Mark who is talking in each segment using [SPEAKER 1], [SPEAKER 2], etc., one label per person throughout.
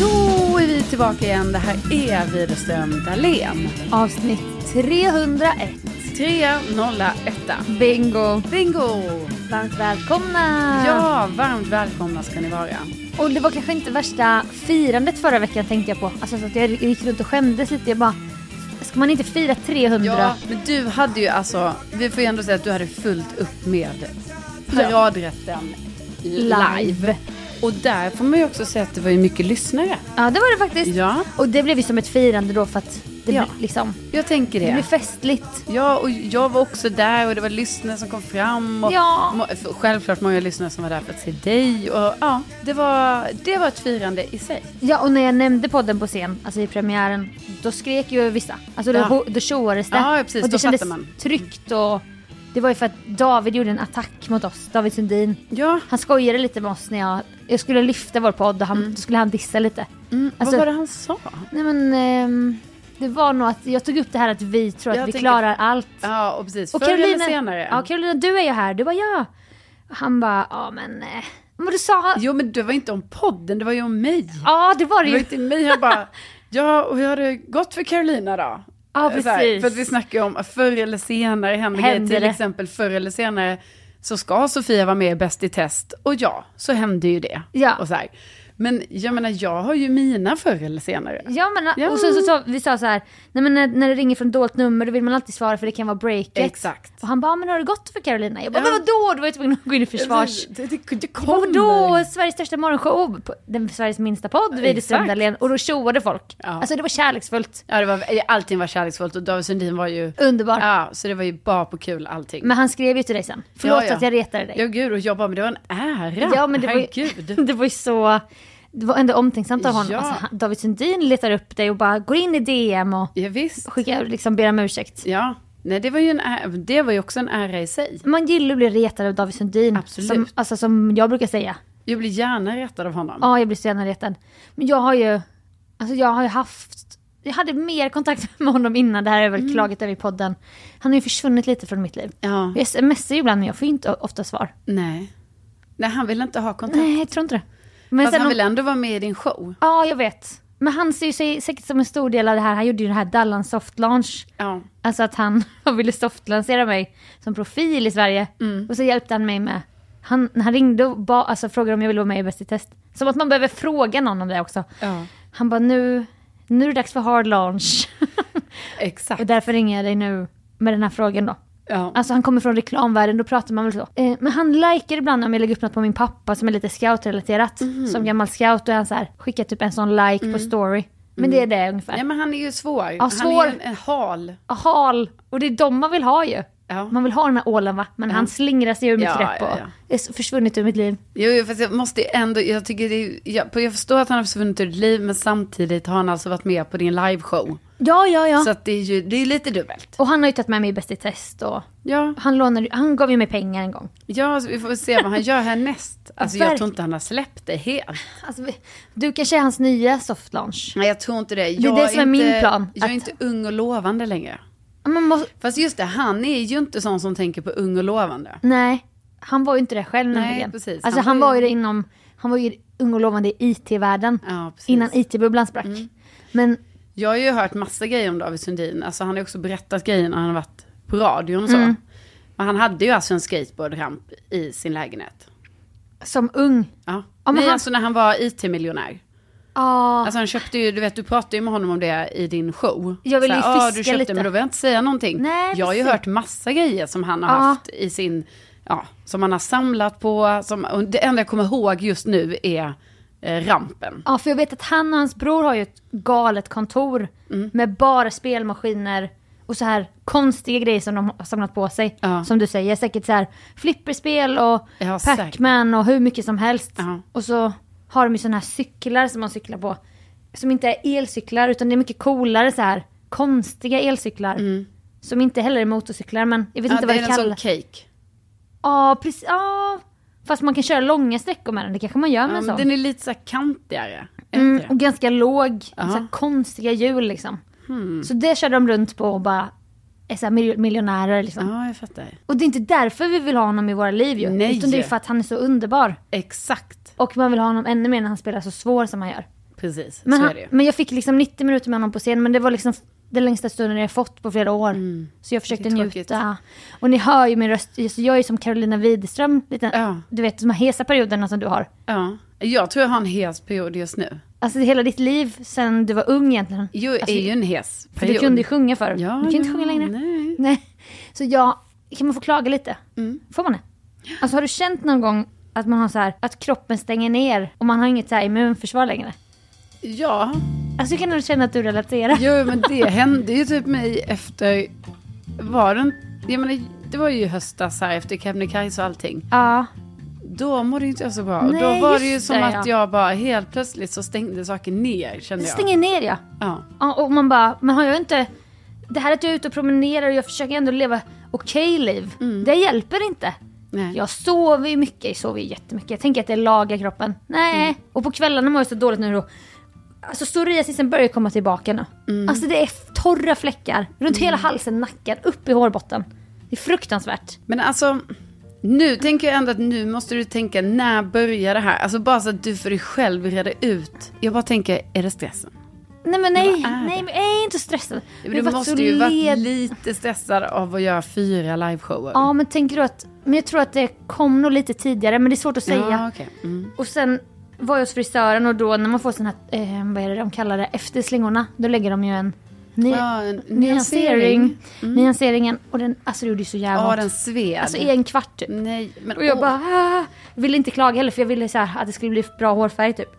[SPEAKER 1] Då är vi tillbaka igen. Det här är Widerström Dahlén.
[SPEAKER 2] Avsnitt 301.
[SPEAKER 1] 301.
[SPEAKER 2] Bingo!
[SPEAKER 1] Bingo! Ah.
[SPEAKER 2] Varmt välkomna!
[SPEAKER 1] Ja, varmt välkomna ska ni vara.
[SPEAKER 2] Och det var kanske inte värsta firandet förra veckan tänkte jag på. Alltså så att jag gick runt och skämdes lite. Jag bara, ska man inte fira 300?
[SPEAKER 1] Ja, men du hade ju alltså, vi får ju ändå säga att du hade fullt upp med paradrätten live.
[SPEAKER 2] Live.
[SPEAKER 1] Och där får man ju också säga att det var ju mycket lyssnare.
[SPEAKER 2] Ja, det var det faktiskt.
[SPEAKER 1] Ja,
[SPEAKER 2] Och det blev ju som ett firande då för att det,
[SPEAKER 1] Ja.
[SPEAKER 2] blir, liksom,
[SPEAKER 1] jag tänker
[SPEAKER 2] det
[SPEAKER 1] det.
[SPEAKER 2] blir festligt.
[SPEAKER 1] Ja, och jag var också där och det var lyssnare som kom fram. Och
[SPEAKER 2] Ja.
[SPEAKER 1] må- Självklart många lyssnare som var där för att se dig. Och ja, det var, det var ett firande i sig.
[SPEAKER 2] Ja, och när jag nämnde podden på scen, alltså i premiären, då skrek ju vissa. Alltså då,
[SPEAKER 1] Ja.
[SPEAKER 2] ho- då tjoades det.
[SPEAKER 1] Ja, precis.
[SPEAKER 2] och
[SPEAKER 1] Då
[SPEAKER 2] det kändes
[SPEAKER 1] fattar man.
[SPEAKER 2] tryggt och det var ju för att David gjorde en attack mot oss, David Sundin.
[SPEAKER 1] Ja,
[SPEAKER 2] Han skojade lite med oss när jag, jag skulle lyfta vår podd och han, då skulle han dissa lite. Alltså-
[SPEAKER 1] vad var det han sa?
[SPEAKER 2] Nej men, ehm, det var nog att jag tog upp det här att vi tror att
[SPEAKER 1] Jag
[SPEAKER 2] vi
[SPEAKER 1] tänker-
[SPEAKER 2] klarar allt.
[SPEAKER 1] Ja, och precis. Förr eller senare.
[SPEAKER 2] ja, Carolina du är ju här, du bara ja. Han bara, ja men, eh. men då sa han,
[SPEAKER 1] Jo, men det var inte om podden, det var ju om mig.
[SPEAKER 2] ja det var det
[SPEAKER 1] Det var
[SPEAKER 2] ju.
[SPEAKER 1] inte mig, jag bara, ja, och hur har det gått för Carolina då? Eh,
[SPEAKER 2] Ja
[SPEAKER 1] Så här,
[SPEAKER 2] precis.
[SPEAKER 1] för att vi snackar ju om att förr eller senare händer,
[SPEAKER 2] Händer
[SPEAKER 1] grejer. Till
[SPEAKER 2] det.
[SPEAKER 1] exempel förr eller senare så ska Sofia vara med i Bäst i test. Och ja, så hände ju det.
[SPEAKER 2] Ja.
[SPEAKER 1] Och så här. Men jag menar, jag har ju mina förr eller senare.
[SPEAKER 2] Ja men
[SPEAKER 1] Ja.
[SPEAKER 2] och så, så, så vi sa så här, nej men när, när det ringer från dolt nummer då vill man alltid svara för det kan vara breaket.
[SPEAKER 1] Exakt.
[SPEAKER 2] Och han bara, men har det gått för Carolina? Jag bara,
[SPEAKER 1] Ja.
[SPEAKER 2] men vadå? Då var jag tvungen att gå in i försvars...
[SPEAKER 1] Det, det, det kommer.
[SPEAKER 2] Vadå? Sveriges största morgonshow, på- den Sveriges minsta podd, Widerström
[SPEAKER 1] Exakt.
[SPEAKER 2] Dahlén. Och då tjoade folk.
[SPEAKER 1] Ja.
[SPEAKER 2] Alltså det var kärleksfullt.
[SPEAKER 1] Ja, det var, eh, allting var kärleksfullt och David Sundin var ju...
[SPEAKER 2] Underbart.
[SPEAKER 1] Ja, så det var ju bara på kul allting.
[SPEAKER 2] Men han skrev ju till dig sen. Förlåt
[SPEAKER 1] Ja, ja.
[SPEAKER 2] att jag retade dig.
[SPEAKER 1] Ja, gud, och jag bara, men det var en ära.
[SPEAKER 2] Ja, men det var,
[SPEAKER 1] Herregud.
[SPEAKER 2] ju, det var ju så... Det var ändå omtänksamt av honom.
[SPEAKER 1] Ja.
[SPEAKER 2] Alltså, han- David Sundin letar upp dig och bara går in i DM och
[SPEAKER 1] Ja, visst.
[SPEAKER 2] skickar, liksom, ber om ursäkt.
[SPEAKER 1] Ja, nej det var ju, en ära, det var ju också en ära i sig.
[SPEAKER 2] Man gillar att bli retad av David Sundin.
[SPEAKER 1] Absolut.
[SPEAKER 2] Som, alltså, som jag brukar säga.
[SPEAKER 1] Jag blir gärna rättad av honom.
[SPEAKER 2] Ja, jag blir så gärna retad. Men jag har ju... Alltså jag har ju haft... Jag hade mer kontakt med honom innan det här
[SPEAKER 1] Mm.
[SPEAKER 2] överklaget över i podden. Han har ju försvunnit lite från mitt liv.
[SPEAKER 1] Ja,
[SPEAKER 2] Jag smsar ju ibland men jag får ju inte ofta svar.
[SPEAKER 1] nej. Nej, han vill inte ha kontakt.
[SPEAKER 2] Nej, jag tror inte det. Men
[SPEAKER 1] Fast han
[SPEAKER 2] om-
[SPEAKER 1] vill ändå vara med i din show.
[SPEAKER 2] Ja, jag vet. Men han ser ju sig säkert som en stor del av det här. Han gjorde ju den här Dallan soft launch.
[SPEAKER 1] Ja,
[SPEAKER 2] Alltså att han ville softlansera mig som profil i Sverige.
[SPEAKER 1] Mm.
[SPEAKER 2] Och så hjälpte han mig med. Han, han ringde och ba, alltså, frågade om jag ville vara med i Bäst i test. Som att man behöver fråga någon om det också.
[SPEAKER 1] ja.
[SPEAKER 3] Han bara, nu, nu är det dags för hard launch.
[SPEAKER 2] Exakt.
[SPEAKER 3] och därför ringer jag dig nu med den här frågan då.
[SPEAKER 2] ja.
[SPEAKER 3] Alltså han kommer från reklamvärlden, då pratar man väl så. Eh, men han likar ibland om jag lägger upp något på min pappa som är lite scoutrelaterat.
[SPEAKER 2] Mhm.
[SPEAKER 3] Som gammal scout, då är han så här, skickar typ en sån like
[SPEAKER 2] Mm.
[SPEAKER 3] på story. Men det är det ungefär.
[SPEAKER 2] ja, men han är ju svår.
[SPEAKER 3] svår.
[SPEAKER 2] Han är ju en, en hal.
[SPEAKER 3] Och Hal, och det är de man vill ha ju.
[SPEAKER 2] Ja.
[SPEAKER 3] Man vill ha den här ålen va? Men han slingrar sig ur mitt
[SPEAKER 2] Ja,
[SPEAKER 3] grepp och
[SPEAKER 2] ja, ja.
[SPEAKER 3] är så försvunnit ur mitt liv.
[SPEAKER 2] Jo, jo, fast jag måste ju ändå, jag tycker det är, jag, jag förstår att han har försvunnit ur ditt liv, men samtidigt har han alltså varit med på din liveshow.
[SPEAKER 3] Ja, ja, ja.
[SPEAKER 2] Så att det är ju, det är lite dubbelt.
[SPEAKER 3] Och han har ju tagit med mig i Bäst i test och
[SPEAKER 2] Ja,
[SPEAKER 3] han, lånade, han gav ju mig pengar en gång.
[SPEAKER 2] ja så vi får väl se vad han gör härnäst. Alltså jag
[SPEAKER 3] Verk-
[SPEAKER 2] tror inte han har släppt det helt.
[SPEAKER 3] Alltså, vi- du kanske är hans nya soft launch.
[SPEAKER 2] Nej, jag tror inte det. Jag
[SPEAKER 3] det som är min plan,
[SPEAKER 2] Jag är
[SPEAKER 3] att-
[SPEAKER 2] inte ung och lovande längre.
[SPEAKER 3] Man måste,
[SPEAKER 2] Fast just det, han är ju inte sån som tänker på ung och lovande.
[SPEAKER 3] nej, han var ju inte det själv
[SPEAKER 2] Nej,
[SPEAKER 3] nämligen.
[SPEAKER 2] precis.
[SPEAKER 3] Alltså,
[SPEAKER 2] Han
[SPEAKER 3] han
[SPEAKER 2] var
[SPEAKER 3] var ju
[SPEAKER 2] ju-
[SPEAKER 3] det inom, han var ju ung och lovande i IT-världen.
[SPEAKER 2] Ja, precis. Mm.
[SPEAKER 3] innan IT-bubblan sprack. Men
[SPEAKER 2] Jag har ju hört massa grejer om David Sundin. Alltså han har ju också berättat grejer när han har varit på radion och så. Men han hade ju alltså en skateboardramp i sin lägenhet.
[SPEAKER 3] som ung,
[SPEAKER 2] Ja.
[SPEAKER 3] Ja, men
[SPEAKER 2] Nej,
[SPEAKER 3] han-
[SPEAKER 2] alltså när han var IT-miljonär.
[SPEAKER 3] ja,
[SPEAKER 2] Alltså han köpte ju, du vet du pratade ju med honom om det i din show.
[SPEAKER 3] Jag ville
[SPEAKER 2] Så
[SPEAKER 3] ju
[SPEAKER 2] "Ah, du
[SPEAKER 3] fiska
[SPEAKER 2] köpte,
[SPEAKER 3] lite."
[SPEAKER 2] men då vill jag inte säga någonting.
[SPEAKER 3] Nej,
[SPEAKER 2] jag har ju
[SPEAKER 3] precis.
[SPEAKER 2] hört massa grejer som han har
[SPEAKER 3] Ja.
[SPEAKER 2] haft i sin, ja, som han har samlat på. Som, och det enda jag kommer ihåg just nu är eh, rampen.
[SPEAKER 3] ja, för jag vet att han och hans bror har ju ett galet kontor
[SPEAKER 2] Mm.
[SPEAKER 3] med bara spelmaskiner och så här konstiga grejer som de har samlat på sig.
[SPEAKER 2] Ja.
[SPEAKER 3] Som du säger, säkert så här flipperspel och
[SPEAKER 2] Ja, säkert.
[SPEAKER 3] Pac-Man och hur mycket som helst.
[SPEAKER 2] Ja.
[SPEAKER 3] Och så har de ju sådana här cyklar som man cyklar på. Som inte är elcyklar utan det är mycket coolare så här konstiga elcyklar. Som inte heller är motorcyklar men jag vet inte
[SPEAKER 2] Mm. Ja, det
[SPEAKER 3] vad det
[SPEAKER 2] är en
[SPEAKER 3] kallas.
[SPEAKER 2] sån cake.
[SPEAKER 3] Ja, precis. Ja. Fast man kan köra långa sträckor med den, det kanske man gör med
[SPEAKER 2] Ja,
[SPEAKER 3] en sån.
[SPEAKER 2] men den är lite så här kantigare. Är
[SPEAKER 3] Mm,
[SPEAKER 2] inte det?
[SPEAKER 3] och ganska låg, så
[SPEAKER 2] Ja. Hmm.
[SPEAKER 3] här konstiga hjul liksom. Så det körde de runt på och bara är så här mil- miljonärer liksom.
[SPEAKER 2] Ja, jag fattar.
[SPEAKER 3] Och det är inte därför vi vill ha honom i våra liv ju.
[SPEAKER 2] Nej.
[SPEAKER 3] Utan det är för att han är så underbar.
[SPEAKER 2] Exakt.
[SPEAKER 3] Och man vill ha honom ännu mer när han spelar så svår som han gör.
[SPEAKER 2] Precis,
[SPEAKER 3] Men,
[SPEAKER 2] så
[SPEAKER 3] han,
[SPEAKER 2] är det ju.
[SPEAKER 3] men jag fick liksom 90 minuter med honom på scen men det var liksom den längsta stunden jag fått på flera år. Så jag försökte
[SPEAKER 2] Mm. Det är tråkigt.
[SPEAKER 3] njuta. Och ni hör ju min röst, så jag är som Carolina Widerström. Lite,
[SPEAKER 2] Ja.
[SPEAKER 3] Du vet de här hesa perioderna som du har.
[SPEAKER 2] Ja. Jag tror jag har en hes period just nu.
[SPEAKER 3] Alltså hela ditt liv sen du var ung egentligen.
[SPEAKER 2] Jo,
[SPEAKER 3] alltså,
[SPEAKER 2] är ju en hes
[SPEAKER 3] för du
[SPEAKER 2] period.
[SPEAKER 3] kunde ju sjunga förr.
[SPEAKER 2] Ja,
[SPEAKER 3] du kan ju inte
[SPEAKER 2] ja,
[SPEAKER 3] sjunga längre.
[SPEAKER 2] nej. Mm.
[SPEAKER 3] Så jag, kan man få klaga lite? Får man det? Alltså har du känt någon gång att man har så här, att kroppen stänger ner och man har inget så här immunförsvar längre?
[SPEAKER 2] Ja,
[SPEAKER 3] Alltså jag kan nog känna att du relaterar.
[SPEAKER 2] jo men det hände ju typ mig efter, var den, jag menar, det var ju i höstas här efter Kebnekaise och allting.
[SPEAKER 3] Ja.
[SPEAKER 2] Då mådde ju inte jag så bra. och
[SPEAKER 3] Nej,
[SPEAKER 2] då var det
[SPEAKER 3] just
[SPEAKER 2] ju som
[SPEAKER 3] det,
[SPEAKER 2] att
[SPEAKER 3] ja.
[SPEAKER 2] jag bara helt plötsligt så stängde saker ner kände
[SPEAKER 3] Det
[SPEAKER 2] jag.
[SPEAKER 3] stänger ner ja.
[SPEAKER 2] Ja.
[SPEAKER 3] Ja, Och man bara, men har jag inte... Det här att jag är ute och promenerar och jag försöker ändå leva okej liv.
[SPEAKER 2] Mm.
[SPEAKER 3] Det hjälper inte.
[SPEAKER 2] Nej.
[SPEAKER 3] Jag sover ju mycket, jag sover ju jättemycket. Jag tänker att det lagar kroppen. Nej.
[SPEAKER 2] Mm.
[SPEAKER 3] Och på kvällarna mår jag så dåligt nu då. Alltså psoriasisen börjar komma tillbaka nu.
[SPEAKER 2] Mm.
[SPEAKER 3] Alltså det är f- torra fläckar runt hela halsen, nacken, upp i hårbotten. Det är fruktansvärt.
[SPEAKER 2] Men alltså, nu tänker jag ändå att nu måste du tänka, när börjar det här? Alltså bara så att du för dig själv reda ut. Jag bara tänker, är det stressen?
[SPEAKER 3] Nej men nej,
[SPEAKER 2] vad är det?
[SPEAKER 3] nej men jag är inte stressad.
[SPEAKER 2] Men
[SPEAKER 3] Jag
[SPEAKER 2] Du
[SPEAKER 3] har varit så
[SPEAKER 2] måste ju varit
[SPEAKER 3] led-
[SPEAKER 2] lite stressad av att göra fyra liveshower.
[SPEAKER 3] Ja men tänker du att, men jag tror att det kom nog lite tidigare men det är svårt att säga.
[SPEAKER 2] Ja, okej. mm.
[SPEAKER 3] Och sen var jag hos frisören och då när man får sån här, eh, vad är det de kallar det, efter slingorna, då lägger de ju en, ny,
[SPEAKER 2] Ja, en
[SPEAKER 3] nyansering.
[SPEAKER 2] nyansering. Mm.
[SPEAKER 3] Nyanseringen och den, alltså det gjorde ju så jävla
[SPEAKER 2] Ja,
[SPEAKER 3] ont.
[SPEAKER 2] den sved.
[SPEAKER 3] Alltså i en kvart typ.
[SPEAKER 2] Nej, men
[SPEAKER 3] Och jag
[SPEAKER 2] åh.
[SPEAKER 3] bara, ah, ville inte klaga heller för jag ville så här, att det skulle bli bra hårfärg typ.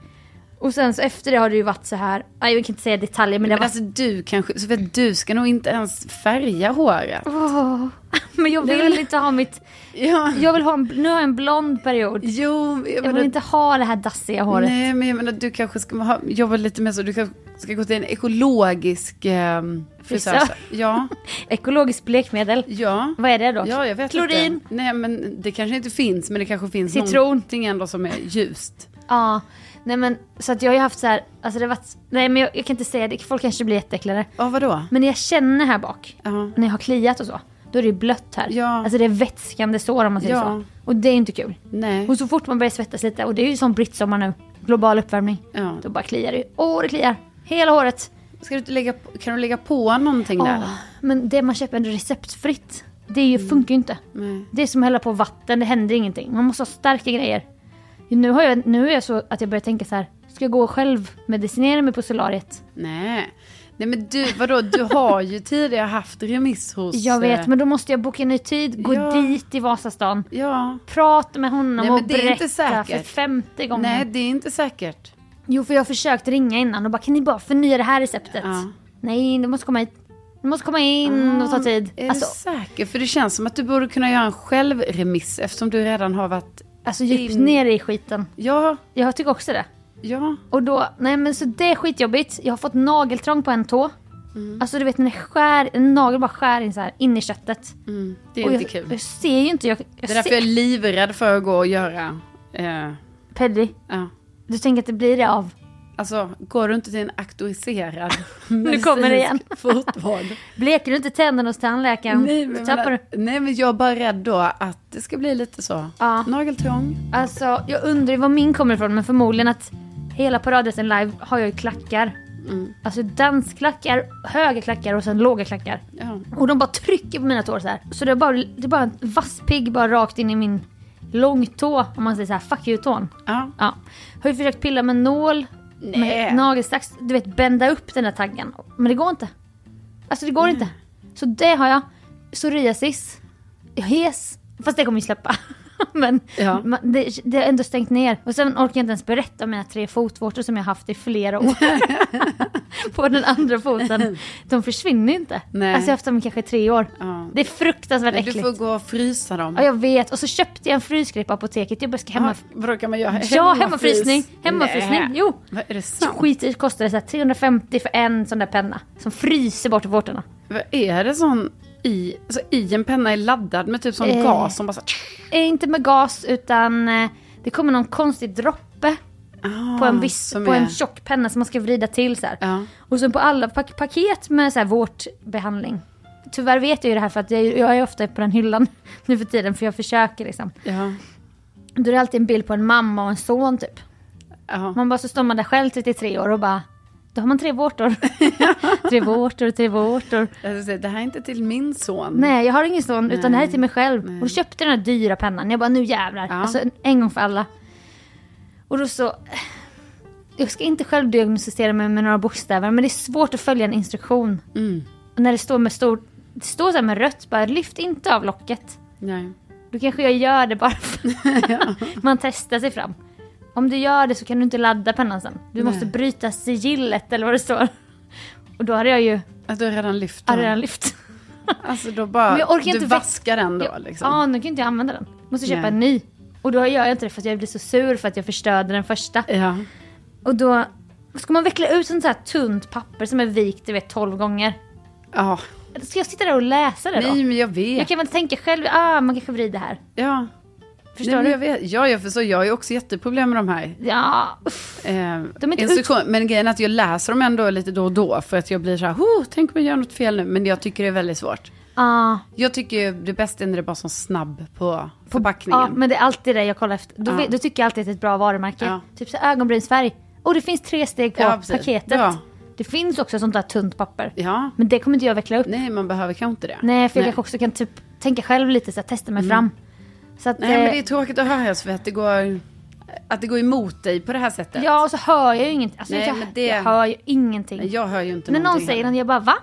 [SPEAKER 3] Och sen så efter det har det ju varit så här, nej, jag kan inte säga detaljer men det
[SPEAKER 2] Men
[SPEAKER 3] var
[SPEAKER 2] alltså du kanske, så vet du ska nog inte ens färga håret.
[SPEAKER 3] Åh.
[SPEAKER 2] alltså-
[SPEAKER 3] Men jag vill inte ha mitt,
[SPEAKER 2] Ja.
[SPEAKER 3] jag vill ha en, nu har jag en blond period.
[SPEAKER 2] Jo, men jag
[SPEAKER 3] Jag
[SPEAKER 2] menar-
[SPEAKER 3] vill inte ha det här dassiga håret.
[SPEAKER 2] Nej, men jag menar du kanske ska ha, jobba lite med så, du kanske ska gå till en ekologisk eh,
[SPEAKER 3] Frisör.
[SPEAKER 2] frisör. Ja,
[SPEAKER 3] Ekologiskt blekmedel.
[SPEAKER 2] ja.
[SPEAKER 3] Vad är det då?
[SPEAKER 2] Ja, jag vet
[SPEAKER 3] Klorin.
[SPEAKER 2] inte. Nej, men det kanske inte finns, men det kanske finns
[SPEAKER 3] Citron.
[SPEAKER 2] någonting ändå som är ljust.
[SPEAKER 3] Ja. Nej men så att jag har ju haft så här, alltså det har varit, nej men jag, jag kan inte säga det, folk kanske blir jätteäcklade.
[SPEAKER 2] Ja, vadå?
[SPEAKER 3] Men när jag känner här bak,
[SPEAKER 2] Ja.
[SPEAKER 3] när jag har kliat och så, då är det ju blött här.
[SPEAKER 2] Ja.
[SPEAKER 3] Alltså det är vätskande sår om man säger
[SPEAKER 2] Ja.
[SPEAKER 3] så. Och det är ju inte kul.
[SPEAKER 2] Nej.
[SPEAKER 3] Och så fort man börjar svettas lite, och det är ju som brittsommar nu, global uppvärmning,
[SPEAKER 2] Ja.
[SPEAKER 3] då bara kliar det ju. Åh det kliar, hela håret.
[SPEAKER 2] Ska du inte lägga, på- kan du lägga på någonting där?
[SPEAKER 3] Åh, men det man köper receptfritt, det är ju, funkar ju inte.
[SPEAKER 2] Mm. Nej.
[SPEAKER 3] Det är som att hälla på vatten, det händer ingenting. Man måste ha starka grejer. Nu, har jag, nu är jag så att jag börjar tänka så här, Ska jag gå och själv medicinera mig på solariet?
[SPEAKER 2] Nej. Nej men du, vadå, du har ju tidigare haft remiss hos...
[SPEAKER 3] Jag vet,
[SPEAKER 2] eh,
[SPEAKER 3] men då måste jag boka en ny tid, gå
[SPEAKER 2] ja.
[SPEAKER 3] dit i Vasastan,
[SPEAKER 2] Ja.
[SPEAKER 3] prata med honom
[SPEAKER 2] Nej, men
[SPEAKER 3] och
[SPEAKER 2] det är
[SPEAKER 3] berätta
[SPEAKER 2] inte
[SPEAKER 3] för
[SPEAKER 2] säkert.
[SPEAKER 3] femte gången.
[SPEAKER 2] Nej, det är inte säkert.
[SPEAKER 3] Jo, för jag har försökt ringa innan och bara kan ni bara förnya det här receptet?
[SPEAKER 2] Ja. Ah,
[SPEAKER 3] Nej, du måste komma hit. Du måste komma in och ta tid.
[SPEAKER 2] Är
[SPEAKER 3] Alltså,
[SPEAKER 2] du säker? För det känns som att du borde kunna göra en självremiss eftersom du redan har varit...
[SPEAKER 3] alltså djupt
[SPEAKER 2] din-
[SPEAKER 3] ner i skiten.
[SPEAKER 2] Ja,
[SPEAKER 3] Jag tycker också det.
[SPEAKER 2] ja.
[SPEAKER 3] Och då, nej men så det är skitjobbigt. Jag har fått nageltrång på en tå.
[SPEAKER 2] Mm.
[SPEAKER 3] Alltså du vet när det skär, en nagel bara skär in, så här, in i köttet.
[SPEAKER 2] Det är
[SPEAKER 3] Mm. Och
[SPEAKER 2] inte
[SPEAKER 3] jag,
[SPEAKER 2] kul.
[SPEAKER 3] jag ser ju inte, jag, jag
[SPEAKER 2] Det är därför
[SPEAKER 3] ser...
[SPEAKER 2] jag är livrädd för att gå och göra... Eh,
[SPEAKER 3] Peddy,
[SPEAKER 2] ja.
[SPEAKER 3] du tänker att det blir det av?
[SPEAKER 2] Alltså, går du inte till en auktoriserad
[SPEAKER 3] Nu kommer det igen.
[SPEAKER 2] medicinsk fotvård?
[SPEAKER 3] Bleker du inte tänderna hos tandläkaren?
[SPEAKER 2] nej,
[SPEAKER 3] Då
[SPEAKER 2] men,
[SPEAKER 3] tappar du.
[SPEAKER 2] nej, men jag är bara rädd då att det ska bli lite så.
[SPEAKER 3] Ja.
[SPEAKER 2] Nageltrång.
[SPEAKER 3] Alltså jag undrar ju var min kommer ifrån men förmodligen att hela paradrätten live har jag ju klackar.
[SPEAKER 2] Mm.
[SPEAKER 3] Alltså dansklackar, höga klackar och sen låga klackar.
[SPEAKER 2] Ja.
[SPEAKER 3] Och de bara trycker på mina tår så här. Så det är bara, det är bara en vass pigg bara rakt in i min långtå om man säger så här, fuck you-tån.
[SPEAKER 2] ja.
[SPEAKER 3] Ja. Har ju försökt pilla med nål,
[SPEAKER 2] Nej.
[SPEAKER 3] med nagelsax, du vet bända upp den där taggen. Men det går inte. Alltså det går inte. Så det har jag. Psoriasis. Jag är hes. Fast det kommer ju släppa. Men
[SPEAKER 2] Ja.
[SPEAKER 3] man, det, det har ändå stängt ner. Och sen orkar jag inte ens berätta om mina tre fotvårtor som jag haft i flera år. På den andra foten. De försvinner ju inte.
[SPEAKER 2] Nej.
[SPEAKER 3] Alltså jag har haft dem i kanske tre år.
[SPEAKER 2] Ja.
[SPEAKER 3] Det är fruktansvärt
[SPEAKER 2] Men Du
[SPEAKER 3] äckligt.
[SPEAKER 2] får gå och frysa dem.
[SPEAKER 3] Ja jag vet. Och så köpte jag en frysgrej på apoteket. Jag bara ska hemma...
[SPEAKER 2] Ja, vadå, kan man göra?
[SPEAKER 3] Ja, hemmafrysning. Hemmafrysning,
[SPEAKER 2] Nej.
[SPEAKER 3] jo.
[SPEAKER 2] Vad är det
[SPEAKER 3] Så
[SPEAKER 2] sant?
[SPEAKER 3] skit i, kostar det så här 350 för en sån där penna. Som fryser bort vårtorna.
[SPEAKER 2] Vad är det sån i, alltså i en penna är laddad med typ sån
[SPEAKER 3] Eh.
[SPEAKER 2] gas som bara så
[SPEAKER 3] Eh, inte med gas utan eh, det kommer någon konstig droppe
[SPEAKER 2] ah,
[SPEAKER 3] på en viss,
[SPEAKER 2] som
[SPEAKER 3] på
[SPEAKER 2] är-
[SPEAKER 3] en tjock penna som man ska vrida till så här.
[SPEAKER 2] Ja.
[SPEAKER 3] Och sen på alla pak- paket med så här vårtbehandling. Tyvärr vet jag ju det här för att jag, jag är ofta på den hyllan nu för tiden för jag försöker liksom.
[SPEAKER 2] Ja,
[SPEAKER 3] Då är det alltid en bild på en mamma och en son typ.
[SPEAKER 2] ja.
[SPEAKER 3] Man bara så står man där själv 33 år och bara då har man tre vårtor. tre vårtor, tre vårtor.
[SPEAKER 2] Jag ska säga, Alltså, Det här är inte till min son.
[SPEAKER 3] Nej, jag har ingen sån, utan det här är till mig själv.
[SPEAKER 2] Nej.
[SPEAKER 3] Och då köpte jag den här dyra pennan. Jag bara, nu jävlar.
[SPEAKER 2] Ja.
[SPEAKER 3] Alltså, en, en gång för alla. Och då så... Jag ska inte själv diagnostisera mig med några bokstäver, men det är svårt att följa en instruktion.
[SPEAKER 2] Mm.
[SPEAKER 3] Och när det står med stor... Det står så här med rött, bara lyft inte av locket.
[SPEAKER 2] Nej.
[SPEAKER 3] Då kanske jag gör det bara för man testar sig fram. Om du gör det så kan du inte ladda pennan sen. Du måste
[SPEAKER 2] Nej.
[SPEAKER 3] bryta sigillet eller vad det står. Och då hade jag ju
[SPEAKER 2] Att du redan lyft
[SPEAKER 3] hade
[SPEAKER 2] den.
[SPEAKER 3] redan lyft.
[SPEAKER 2] Alltså då bara,
[SPEAKER 3] Men jag orkar
[SPEAKER 2] du
[SPEAKER 3] inte vä-
[SPEAKER 2] vaskar den då liksom.
[SPEAKER 3] Ja, nu kan ju inte jag använda den. Måste köpa
[SPEAKER 2] Nej.
[SPEAKER 3] en ny. Och då gör jag inte det för att jag blir så sur för att jag förstörde den första.
[SPEAKER 2] Ja.
[SPEAKER 3] Och då ska man veckla ut sånt här tunt papper som är vikt, du vet, 12 gånger.
[SPEAKER 2] ja.
[SPEAKER 3] Ska jag sitta där och läsa det då?
[SPEAKER 2] Nej men jag vet.
[SPEAKER 3] Jag kan väl tänka själv, ah, man kanske vrider här.
[SPEAKER 2] Ja.
[SPEAKER 3] Förstår
[SPEAKER 2] Nej, men
[SPEAKER 3] du?
[SPEAKER 2] jag vet. Ja, jag förstår. Jag har ju också jätteproblem med de här.
[SPEAKER 3] Ja, uff.
[SPEAKER 2] Eh,
[SPEAKER 3] De är inte
[SPEAKER 2] instruktion. Men grejen är att jag läser dem ändå lite då och då. För att jag blir så här, oh, tänk om jag gör något fel nu. Men jag tycker det är väldigt svårt.
[SPEAKER 3] Ah,
[SPEAKER 2] Jag tycker ju det bästa är när det bara är sån snabb på förpackningen.
[SPEAKER 3] ja, men det är alltid det jag kollar efter. Då,
[SPEAKER 2] Ja.
[SPEAKER 3] vet- då tycker jag alltid att det är ett bra varumärke.
[SPEAKER 2] Ja.
[SPEAKER 3] Typ så här ögonbrynsfärg. Och det finns tre steg på
[SPEAKER 2] Ja, precis.
[SPEAKER 3] paketet.
[SPEAKER 2] Ja.
[SPEAKER 3] Det finns också sånt där tunt papper.
[SPEAKER 2] Ja.
[SPEAKER 3] Men det kommer inte jag veckla upp.
[SPEAKER 2] Nej, man behöver kanske inte det.
[SPEAKER 3] Nej, för jag kanske också kan typ tänka själv lite så här, testa mig fram. Så att,
[SPEAKER 2] Mm. Nej, men det är
[SPEAKER 3] eh,
[SPEAKER 2] tråkigt att höra Sofie, att det går, att det går emot dig på det här sättet.
[SPEAKER 3] Ja, och så hör jag ju ingenting. Alltså,
[SPEAKER 2] Nej,
[SPEAKER 3] jag,
[SPEAKER 2] men det-
[SPEAKER 3] jag hör ju ingenting.
[SPEAKER 2] Nej, Jag hör ju inte
[SPEAKER 3] När någon
[SPEAKER 2] någonting
[SPEAKER 3] säger
[SPEAKER 2] heller.
[SPEAKER 3] något, jag bara va?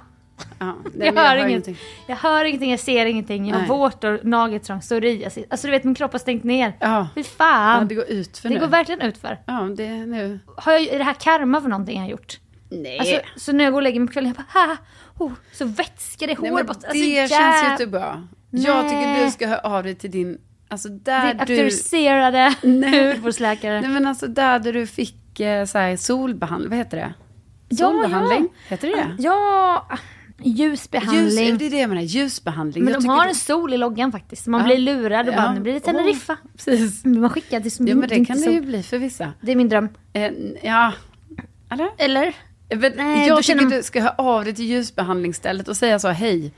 [SPEAKER 2] ja, nej, men
[SPEAKER 3] jag, hör inget.
[SPEAKER 2] ingenting.
[SPEAKER 3] Jag hör ingenting, jag ser ingenting. Jag har
[SPEAKER 2] Nej.
[SPEAKER 3] vårtor, nageltrång, psoriasis. Alltså du vet, min kropp har stängt ner.
[SPEAKER 2] Ja.
[SPEAKER 3] Fy
[SPEAKER 2] ja,
[SPEAKER 3] fan.
[SPEAKER 2] det
[SPEAKER 3] det
[SPEAKER 2] går ut för
[SPEAKER 3] går,
[SPEAKER 2] nu.
[SPEAKER 3] verkligen utför.
[SPEAKER 2] Ja, det är nu.
[SPEAKER 3] Har jag, är det här karma för någonting jag har gjort?
[SPEAKER 2] Nej.
[SPEAKER 3] Alltså, så när jag går och lägger mig på kvällen, jag bara ha, oh, så vätskar det
[SPEAKER 2] Nej,
[SPEAKER 3] hår
[SPEAKER 2] men
[SPEAKER 3] bort. Alltså,
[SPEAKER 2] det känns ju typ inte bra. Jag tycker
[SPEAKER 3] Nej.
[SPEAKER 2] du ska höra av dig till din, alltså där
[SPEAKER 3] Din
[SPEAKER 2] du...
[SPEAKER 3] auktoriserade
[SPEAKER 2] Nej.
[SPEAKER 3] hudvårdsläkare.
[SPEAKER 2] Nej men alltså där där du fick eh, så här, solbehandling, vad heter det?
[SPEAKER 3] Ja,
[SPEAKER 2] Solbehandling,
[SPEAKER 3] ja.
[SPEAKER 2] heter det det?
[SPEAKER 3] Ja, ljusbehandling.
[SPEAKER 2] Ljus, det är det jag menar, ljusbehandling.
[SPEAKER 3] Men
[SPEAKER 2] jag
[SPEAKER 3] de
[SPEAKER 2] tycker
[SPEAKER 3] har
[SPEAKER 2] det-
[SPEAKER 3] en sol i loggan faktiskt. så Man
[SPEAKER 2] Ja.
[SPEAKER 3] blir lurad och bara,
[SPEAKER 2] Ja.
[SPEAKER 3] nu blir det Teneriffa.
[SPEAKER 2] Precis.
[SPEAKER 3] Men man skickar till som
[SPEAKER 2] Ja men det
[SPEAKER 3] inte
[SPEAKER 2] kan det
[SPEAKER 3] sol.
[SPEAKER 2] ju bli för vissa.
[SPEAKER 3] Det är min dröm.
[SPEAKER 2] Eh, ja, eller?
[SPEAKER 3] Eller?
[SPEAKER 2] Men
[SPEAKER 3] Nej,
[SPEAKER 2] jag
[SPEAKER 3] då
[SPEAKER 2] tycker
[SPEAKER 3] känner man-
[SPEAKER 2] du ska höra av dig till ljusbehandlingsstället och säga så, hej,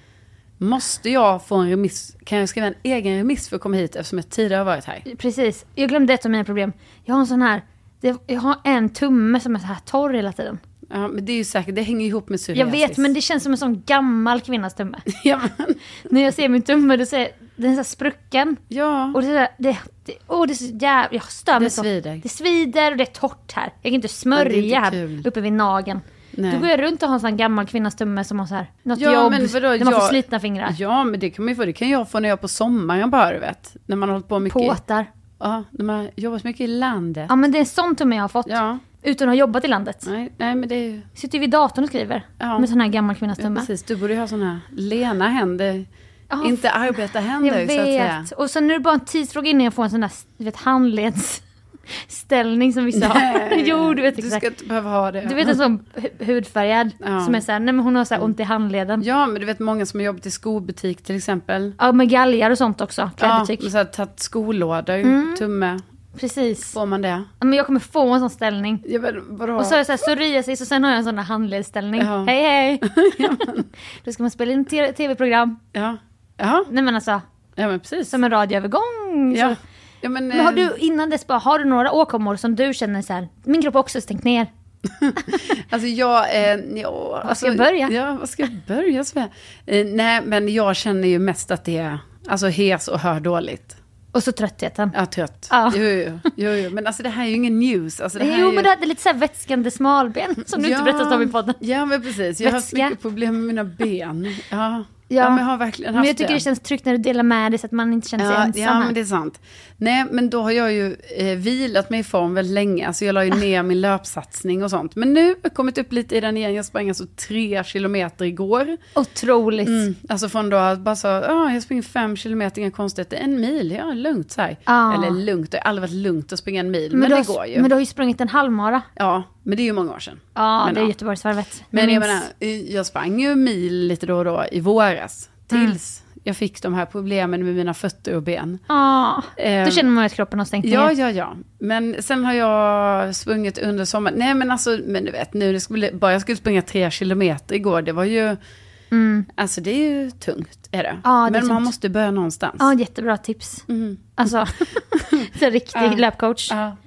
[SPEAKER 2] måste jag få en remiss? Kan jag skriva en egen remiss för att komma hit eftersom jag tidigare har varit här?
[SPEAKER 3] Precis. Jag glömde ett av mina problem. Jag har en sån här, det- jag har en tumme som är så här torr hela tiden.
[SPEAKER 2] Ja, men det är ju säkert, det hänger ihop med
[SPEAKER 3] Jag
[SPEAKER 2] psoriasis.
[SPEAKER 3] vet men det känns som en sån gammal kvinnas tumme.
[SPEAKER 2] Ja, men,
[SPEAKER 3] När jag ser min tumme då säger den är så här sprucken.
[SPEAKER 2] Ja.
[SPEAKER 3] Och det, är så här- det, det, åh, det är så jävla, jag stör mig
[SPEAKER 2] Det
[SPEAKER 3] så.
[SPEAKER 2] svider.
[SPEAKER 3] Det svider och det är torrt här. Jag kan inte
[SPEAKER 2] Ja, det är
[SPEAKER 3] smörja
[SPEAKER 2] inte
[SPEAKER 3] här
[SPEAKER 2] kul.
[SPEAKER 3] uppe vid nageln.
[SPEAKER 2] Nej.
[SPEAKER 3] Då går jag runt och har en sån här gammal kvinnas tumme som har så här, något jobb, när man får
[SPEAKER 2] jag-
[SPEAKER 3] slitna fingrar.
[SPEAKER 2] Ja, men det kan man ju få. Det kan jag få när jag är på sommaren bara, du vet. När man har hållit på mycket.
[SPEAKER 3] Påtar.
[SPEAKER 2] Ja, när man har jobbat mycket i landet.
[SPEAKER 3] Ja men det är en sån tumme jag har fått.
[SPEAKER 2] Ja.
[SPEAKER 3] Utan att ha jobbat i landet.
[SPEAKER 2] Nej, nej, men det är ju...
[SPEAKER 3] Sitter vid datorn och skriver.
[SPEAKER 2] Ja.
[SPEAKER 3] Med sån här gammal kvinnas tumme.
[SPEAKER 2] Precis, du borde ju ha sådana lena händer.
[SPEAKER 3] Ja,
[SPEAKER 2] inte
[SPEAKER 3] fan.
[SPEAKER 2] arbetarhänder,
[SPEAKER 3] Jag
[SPEAKER 2] så att säga.
[SPEAKER 3] vet. Och sen är det bara en tidsfråga innan jag får en sån där du vet, handledsställning som vissa har.
[SPEAKER 2] Nej.
[SPEAKER 3] jo, du vet
[SPEAKER 2] Du
[SPEAKER 3] exakt.
[SPEAKER 2] ska inte behöva ha det. Mm.
[SPEAKER 3] Du vet en sån hu- hudfärgad
[SPEAKER 2] Ja. Mm.
[SPEAKER 3] som är såhär, nej men hon har såhär ont i handleden. Ja.
[SPEAKER 2] Ja, men du vet många som har jobbat i skobutik till exempel.
[SPEAKER 3] med galgar och sånt också,
[SPEAKER 2] Ja,
[SPEAKER 3] klädbutik. Mm.
[SPEAKER 2] men så här, tagit skolådor, tumme.
[SPEAKER 3] Precis.
[SPEAKER 2] Får man det?
[SPEAKER 3] Ja, Men jag kommer få en sån ställning.
[SPEAKER 2] Ja, men vadå?
[SPEAKER 3] Och så är det såhär psoriasis och sen har jag en sån där handledsställning.
[SPEAKER 2] Ja.
[SPEAKER 3] Hej hej! Då ska man spela in te- tv-program.
[SPEAKER 2] Ja. Ja,
[SPEAKER 3] Nej men alltså,
[SPEAKER 2] ja men precis.
[SPEAKER 3] som en radioövergång.
[SPEAKER 2] ja.
[SPEAKER 3] Så.
[SPEAKER 2] Ja, men,
[SPEAKER 3] Men har
[SPEAKER 2] eh,
[SPEAKER 3] du innan dess bara, har du några åkommor som du känner såhär, min kropp har också stängt ner.
[SPEAKER 2] Alltså jag... Eh, ja,
[SPEAKER 3] Var ska jag börja?
[SPEAKER 2] Ja, vad ska jag börja Svea? Eh, nej, men jag känner ju mest att det är alltså, hes och hör dåligt.
[SPEAKER 3] Och så tröttheten.
[SPEAKER 2] Ja, trött.
[SPEAKER 3] Ja.
[SPEAKER 2] Jo, jo, jo, jo, men alltså det här är ju ingen news. Alltså, det här är
[SPEAKER 3] jo
[SPEAKER 2] ju...
[SPEAKER 3] men du hade lite såhär vätskande smalben som du inte berättat om i podden.
[SPEAKER 2] Ja, men precis. Jag har haft
[SPEAKER 3] Vätska.
[SPEAKER 2] mycket problem med mina ben. Ja, ja.
[SPEAKER 3] Ja.
[SPEAKER 2] men jag har verkligen haft
[SPEAKER 3] Men jag tycker det känns tryggt när du delar med dig så att man inte känner sig
[SPEAKER 2] Ja,
[SPEAKER 3] ensam.
[SPEAKER 2] ja,
[SPEAKER 3] här.
[SPEAKER 2] men det är sant. Nej, men då har jag ju eh, vilat mig i form väldigt länge. Alltså jag la ju
[SPEAKER 3] Ah.
[SPEAKER 2] ner min löpsatsning och sånt. Men nu har jag kommit upp lite i den igen. Jag sprang alltså tre kilometer igår.
[SPEAKER 3] Otroligt.
[SPEAKER 2] Mm, alltså från då att bara så, ah, jag springer fem kilometer, inga konstigheter. En mil, ja lugnt så här.
[SPEAKER 3] Ja.
[SPEAKER 2] Eller lugnt, det har aldrig varit lugnt att springa en mil. Men,
[SPEAKER 3] Ah. Men, du
[SPEAKER 2] det
[SPEAKER 3] har,
[SPEAKER 2] går ju.
[SPEAKER 3] men du har ju sprungit en halvmara.
[SPEAKER 2] Ja, men det är ju många år sedan.
[SPEAKER 3] Ja,
[SPEAKER 2] Men
[SPEAKER 3] det är
[SPEAKER 2] ja.
[SPEAKER 3] Göteborgsvarvet.
[SPEAKER 2] Men jag
[SPEAKER 3] minns-
[SPEAKER 2] menar, eh, jag sprang ju mil lite då och då i våras.
[SPEAKER 3] Mm.
[SPEAKER 2] Tills jag fick de här problemen med mina fötter och ben.
[SPEAKER 3] Ja,
[SPEAKER 2] Ehm,
[SPEAKER 3] då känner man ju att kroppen har stängt
[SPEAKER 2] Ja,
[SPEAKER 3] ner.
[SPEAKER 2] ja, ja. Men sen har jag sprungit under sommaren. Nej, men alltså, men du vet, nu det skulle, bara jag skulle springa tre kilometer igår, det var ju...
[SPEAKER 3] Mm.
[SPEAKER 2] Alltså det är ju tungt, är det.
[SPEAKER 3] Ja, det är
[SPEAKER 2] men man
[SPEAKER 3] tungt.
[SPEAKER 2] måste börja någonstans.
[SPEAKER 3] Ja, jättebra tips. Alltså, så riktig
[SPEAKER 2] Mm. Ja.
[SPEAKER 3] löpcoach.
[SPEAKER 2] Ja,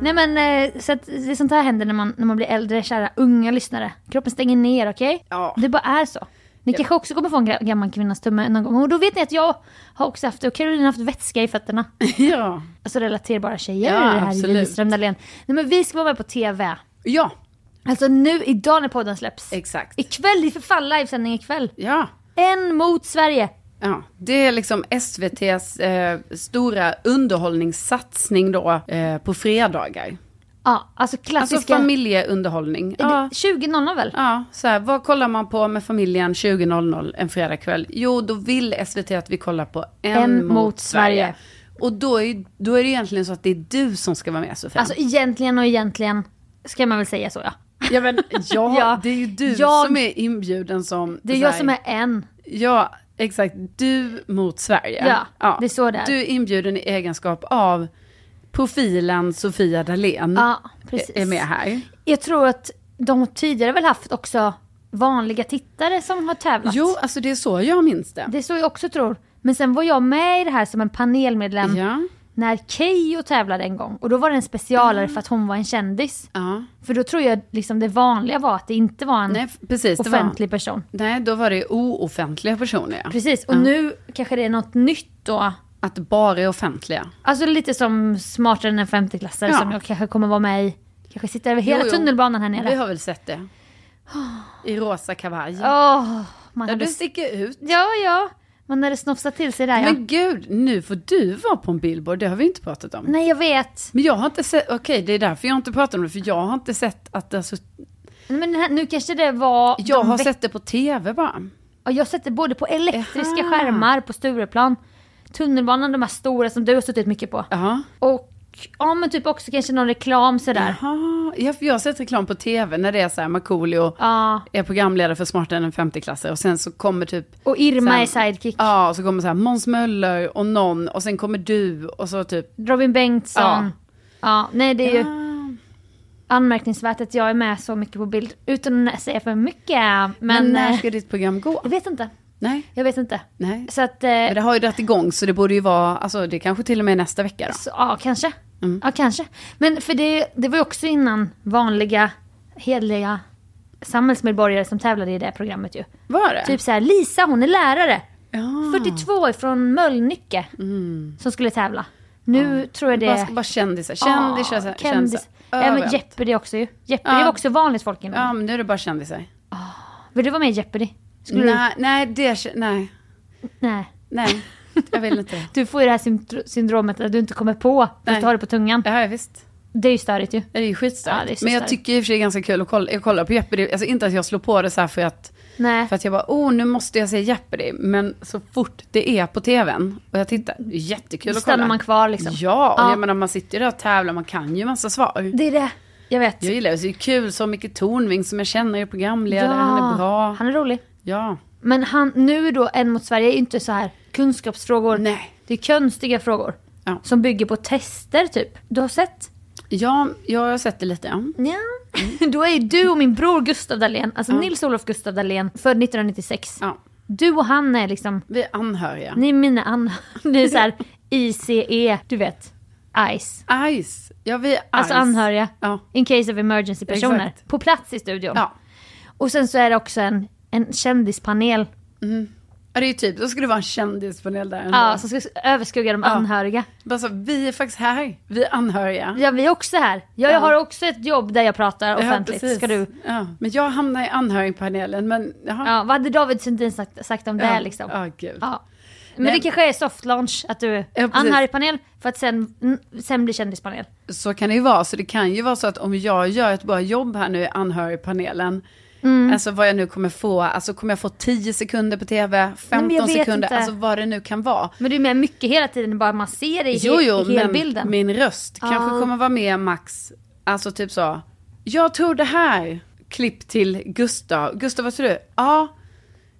[SPEAKER 3] Nej men eh, så att det är sånt här händer när man, när man blir äldre, kära unga lyssnare. Kroppen stänger ner, okej?
[SPEAKER 2] Ja.
[SPEAKER 3] Det bara är så. Ni kanske också kommer få en ga- gammal kvinnas tumme någon gång. Och då vet ni att jag har också haft det. Och Caroline har haft vätska i fötterna.
[SPEAKER 2] Ja.
[SPEAKER 3] Alltså relaterbara tjejer.
[SPEAKER 2] Ja,
[SPEAKER 3] här i
[SPEAKER 2] absolut.
[SPEAKER 3] Widerström Dahlén. Nej men vi ska vara med på TV.
[SPEAKER 2] Ja. Alltså nu, idag när podden släpps.
[SPEAKER 1] Exakt.
[SPEAKER 2] Ikväll, det är för fan livesändning ikväll.
[SPEAKER 1] Ja.
[SPEAKER 2] En mot Sverige.
[SPEAKER 1] Ja, det är liksom SVTs eh, stora underhållningssatsning då eh, på fredagar.
[SPEAKER 2] Ja,
[SPEAKER 1] Alltså
[SPEAKER 2] alltså klassiska.
[SPEAKER 1] familjeunderhållning.
[SPEAKER 2] Är det
[SPEAKER 1] Ja,
[SPEAKER 2] 20.00 väl?
[SPEAKER 1] ja så här, vad kollar man på med familjen 20.00 en fredagkväll? Jo, då vill SVT att vi kollar på En,
[SPEAKER 2] En
[SPEAKER 1] mot,
[SPEAKER 2] mot
[SPEAKER 1] Sverige.
[SPEAKER 2] Sverige.
[SPEAKER 1] Och då är, ju- då är det egentligen så att det är du som ska vara med Sofia.
[SPEAKER 2] Alltså egentligen och egentligen ska man väl säga så ja.
[SPEAKER 1] ja, men, ja,
[SPEAKER 2] Ja.
[SPEAKER 1] det är ju du
[SPEAKER 2] Jag-
[SPEAKER 1] som är inbjuden som...
[SPEAKER 2] Det är
[SPEAKER 1] så
[SPEAKER 2] jag
[SPEAKER 1] här-
[SPEAKER 2] som är en.
[SPEAKER 1] Ja, exakt. Du mot Sverige.
[SPEAKER 2] Ja, det är så det är.
[SPEAKER 1] Du är inbjuden i egenskap av profilen Sofia Dalén.
[SPEAKER 2] Ja, precis.
[SPEAKER 1] Mm. Är med här.
[SPEAKER 2] Jag tror att de har tidigare väl haft också vanliga tittare som har tävlat.
[SPEAKER 1] Jo, alltså det är så jag minns det.
[SPEAKER 2] Det är så jag också tror. Men sen var jag med i det här som en panelmedlem
[SPEAKER 1] Ja.
[SPEAKER 2] när Keyyo tävlade en gång. Och då var det en specialare för att hon var en kändis.
[SPEAKER 1] Mm. ja.
[SPEAKER 2] För då tror jag liksom det vanliga var att det inte var en
[SPEAKER 1] Nej, f- precis. Det var,
[SPEAKER 2] offentlig person.
[SPEAKER 1] nej, då var det ooffentliga personer. ja.
[SPEAKER 2] Precis, och nu kanske det är något nytt då.
[SPEAKER 1] Att det bara är offentliga.
[SPEAKER 2] Alltså lite som smartare än en 50-klassare
[SPEAKER 1] Ja.
[SPEAKER 2] som jag kanske kommer vara med i. Kanske sitter över hela
[SPEAKER 1] Jo, jo.
[SPEAKER 2] tunnelbanan här
[SPEAKER 1] Vi
[SPEAKER 2] nere.
[SPEAKER 1] har väl sett det. I rosa kavaj.
[SPEAKER 2] Åh, man
[SPEAKER 1] Där
[SPEAKER 2] hade...
[SPEAKER 1] du sticker ut.
[SPEAKER 2] Ja, ja. Man hade snofsat till sig där ja.
[SPEAKER 1] Men gud, nu får du vara på en billboard. Det har vi inte pratat om.
[SPEAKER 2] Nej, jag vet.
[SPEAKER 1] Men jag har inte sett, okej det är därför jag inte pratar om det, för jag har inte sett att det har sutt-
[SPEAKER 2] Nej, Men den här, nu kanske det var...
[SPEAKER 1] Jag
[SPEAKER 2] de
[SPEAKER 1] har
[SPEAKER 2] veck-
[SPEAKER 1] sett det på tv bara.
[SPEAKER 2] Ja, jag har sett det både på elektriska
[SPEAKER 1] Aha.
[SPEAKER 2] skärmar på Stureplan, tunnelbanan, de här stora som du har suttit mycket på.
[SPEAKER 1] Ja.
[SPEAKER 2] Och ja, men typ också kanske någon reklam sådär.
[SPEAKER 1] Jaha, jag, jag har sett reklam på tv när det är så här Markoolio
[SPEAKER 2] Ja.
[SPEAKER 1] är programledare för Smartare än en 50-klassare och sen så kommer typ...
[SPEAKER 2] Och Irma
[SPEAKER 1] sen-
[SPEAKER 2] är sidekick.
[SPEAKER 1] Ja, och så kommer så här Måns Möller och någon och sen kommer du och så typ...
[SPEAKER 2] Robin Bengtsson.
[SPEAKER 1] Ja.
[SPEAKER 2] Ja. nej det är ju anmärkningsvärt att jag är med så mycket på bild utan att säga för mycket. Men,
[SPEAKER 1] Men när
[SPEAKER 2] eh,
[SPEAKER 1] ska ditt program gå?
[SPEAKER 2] jag vet inte.
[SPEAKER 1] Nej,
[SPEAKER 2] Jag vet inte.
[SPEAKER 1] nej.
[SPEAKER 2] Så att, eh,
[SPEAKER 1] Men det har ju dragit igång så det borde ju vara, alltså det kanske till och med är nästa vecka då.
[SPEAKER 2] så, ja kanske.
[SPEAKER 1] Mm.
[SPEAKER 2] Ja kanske. Men för det, det var ju också innan vanliga hederliga samhällsmedborgare som tävlade i det programmet ju.
[SPEAKER 1] Var det?
[SPEAKER 2] Typ så här, Lisa hon är lärare.
[SPEAKER 1] ja.
[SPEAKER 2] 42 från Mölnlycke. Som skulle tävla. Nu tror jag det
[SPEAKER 1] Bara, ska- bara kändisar, kändisar,
[SPEAKER 2] Ja,
[SPEAKER 1] kändisar.
[SPEAKER 2] kändis.
[SPEAKER 1] kändisar.
[SPEAKER 2] Även
[SPEAKER 1] Överallt.
[SPEAKER 2] Jeopardy också ju. Jeopardy
[SPEAKER 1] Ja.
[SPEAKER 2] var också vanligt folk innan.
[SPEAKER 1] Ja, men nu är det bara kändisar.
[SPEAKER 2] Vill du vara med i Jeopardy? Skulle
[SPEAKER 1] Nej, nej, det, kä- nej,
[SPEAKER 2] Du? Nej.
[SPEAKER 1] nej, jag vill inte det.
[SPEAKER 2] Du får ju det här syndro- syndromet att du inte kommer på
[SPEAKER 1] Nej.
[SPEAKER 2] fast du har det på tungan.
[SPEAKER 1] Ja, visst.
[SPEAKER 2] Det är ju störigt ju.
[SPEAKER 1] Det är ju skitstört.
[SPEAKER 2] Ja, det är så
[SPEAKER 1] men jag
[SPEAKER 2] stört.
[SPEAKER 1] tycker i och för sig det är ganska kul att kolla, jag kollar på Jeopardy. Alltså inte att jag slår på det så här för att,
[SPEAKER 2] Nej.
[SPEAKER 1] för att jag bara, oh nu måste jag se Jeopardy. Men så fort det är på tvn och jag tittar, det är jättekul
[SPEAKER 2] Då
[SPEAKER 1] att kolla.
[SPEAKER 2] stannar man kvar liksom.
[SPEAKER 1] Ja, och
[SPEAKER 2] Ja.
[SPEAKER 1] jag menar man sitter ju där och tävlar, man kan ju massa svar.
[SPEAKER 2] Det är det. Jag vet.
[SPEAKER 1] Jag gillar det, så det är kul så mycket Tornving som jag känner är programledare, han är bra.
[SPEAKER 2] Han är rolig.
[SPEAKER 1] Ja.
[SPEAKER 2] Men han, nu då, En mot Sverige är ju inte så här kunskapsfrågor.
[SPEAKER 1] Nej.
[SPEAKER 2] Det är konstiga frågor.
[SPEAKER 1] Ja.
[SPEAKER 2] Som bygger på tester typ. Du har sett?
[SPEAKER 1] ja, jag har sett det lite. Ja.
[SPEAKER 2] Ja. Då är ju du och min bror Gustav Dahlén, alltså Nils-Olof Gustav Dahlén, född 1996.
[SPEAKER 1] Ja.
[SPEAKER 2] Du och han är liksom
[SPEAKER 1] Vi är anhöriga.
[SPEAKER 2] Ni är mina anhöriga. Ni är såhär ICE, E, du vet. ICE.
[SPEAKER 1] Ice. Ja, vi är
[SPEAKER 2] Alltså
[SPEAKER 1] ice.
[SPEAKER 2] anhöriga.
[SPEAKER 1] Ja.
[SPEAKER 2] In case of emergency personer.
[SPEAKER 1] Exakt.
[SPEAKER 2] På plats i studion.
[SPEAKER 1] Ja.
[SPEAKER 2] Och sen så är det också en, en kändispanel.
[SPEAKER 1] ja, det är ju typ, då skulle det vara en kändispanel där. ändå.
[SPEAKER 2] Ja, som ska överskugga de anhöriga.
[SPEAKER 1] Bara så, vi är faktiskt här, vi är anhöriga.
[SPEAKER 2] Ja, vi är också här. Ja, jag har också ett jobb där jag pratar
[SPEAKER 1] Ja,
[SPEAKER 2] offentligt.
[SPEAKER 1] precis.
[SPEAKER 2] ska du...
[SPEAKER 1] Ja, men jag hamnar i anhörigpanelen, men jaha.
[SPEAKER 2] Ja, vad hade David Sundin sagt, sagt om det liksom?
[SPEAKER 1] Ja, gud.
[SPEAKER 2] Ja. Men
[SPEAKER 1] Nej.
[SPEAKER 2] det kanske är soft launch, att du är
[SPEAKER 1] precis.
[SPEAKER 2] anhörigpanel för att sen, mm, sen bli kändispanel.
[SPEAKER 1] Så kan det ju vara, så det kan ju vara så att om jag gör ett bra jobb här nu i anhörigpanelen,
[SPEAKER 2] Mm.
[SPEAKER 1] alltså vad jag nu kommer få, alltså kommer jag få 10 sekunder på tv, 15
[SPEAKER 2] men jag vet
[SPEAKER 1] sekunder,
[SPEAKER 2] inte.
[SPEAKER 1] alltså vad det nu kan vara.
[SPEAKER 2] Men du är med mycket hela tiden, bara man ser det i,
[SPEAKER 1] Jo, jo,
[SPEAKER 2] i
[SPEAKER 1] men
[SPEAKER 2] helbilden.
[SPEAKER 1] min röst kanske kommer vara med max, alltså typ så, jag tror det här, klipp till Gustav, Gustav vad tror du? Ja,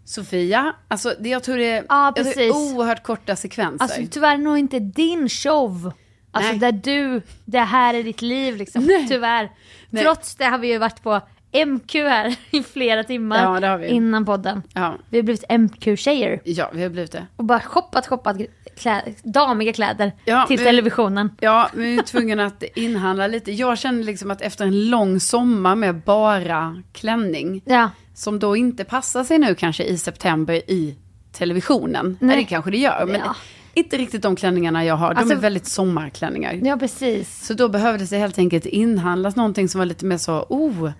[SPEAKER 1] Sofia, alltså det, jag tror det är,
[SPEAKER 2] Ja,
[SPEAKER 1] jag tror det är
[SPEAKER 2] precis.
[SPEAKER 1] oerhört korta sekvenser.
[SPEAKER 2] Alltså tyvärr nog inte din show. Alltså
[SPEAKER 1] Nej.
[SPEAKER 2] där du, det här är ditt liv liksom. Tyvärr.
[SPEAKER 1] Nej.
[SPEAKER 2] Trots det har vi ju varit på MQ här i flera timmar
[SPEAKER 1] Ja, det har vi.
[SPEAKER 2] innan podden.
[SPEAKER 1] ja,
[SPEAKER 2] Vi har blivit MQ-tjejer
[SPEAKER 1] ja, vi har blivit det.
[SPEAKER 2] och bara shoppat, shoppat klä- damiga kläder
[SPEAKER 1] Ja,
[SPEAKER 2] till
[SPEAKER 1] vi-
[SPEAKER 2] televisionen.
[SPEAKER 1] Ja, men vi är tvungna att inhandla lite. Jag känner liksom att efter en lång sommar med bara klänning,
[SPEAKER 2] Ja,
[SPEAKER 1] som då inte passar sig nu kanske i september i televisionen. Nej, det
[SPEAKER 2] Nej.
[SPEAKER 1] kanske det gör, men
[SPEAKER 2] Ja.
[SPEAKER 1] inte riktigt de klänningarna jag har. De
[SPEAKER 2] Alltså-
[SPEAKER 1] är väldigt sommarklänningar.
[SPEAKER 2] ja precis.
[SPEAKER 1] Så då behövdes det helt enkelt inhandlas någonting som var lite mer så, oh,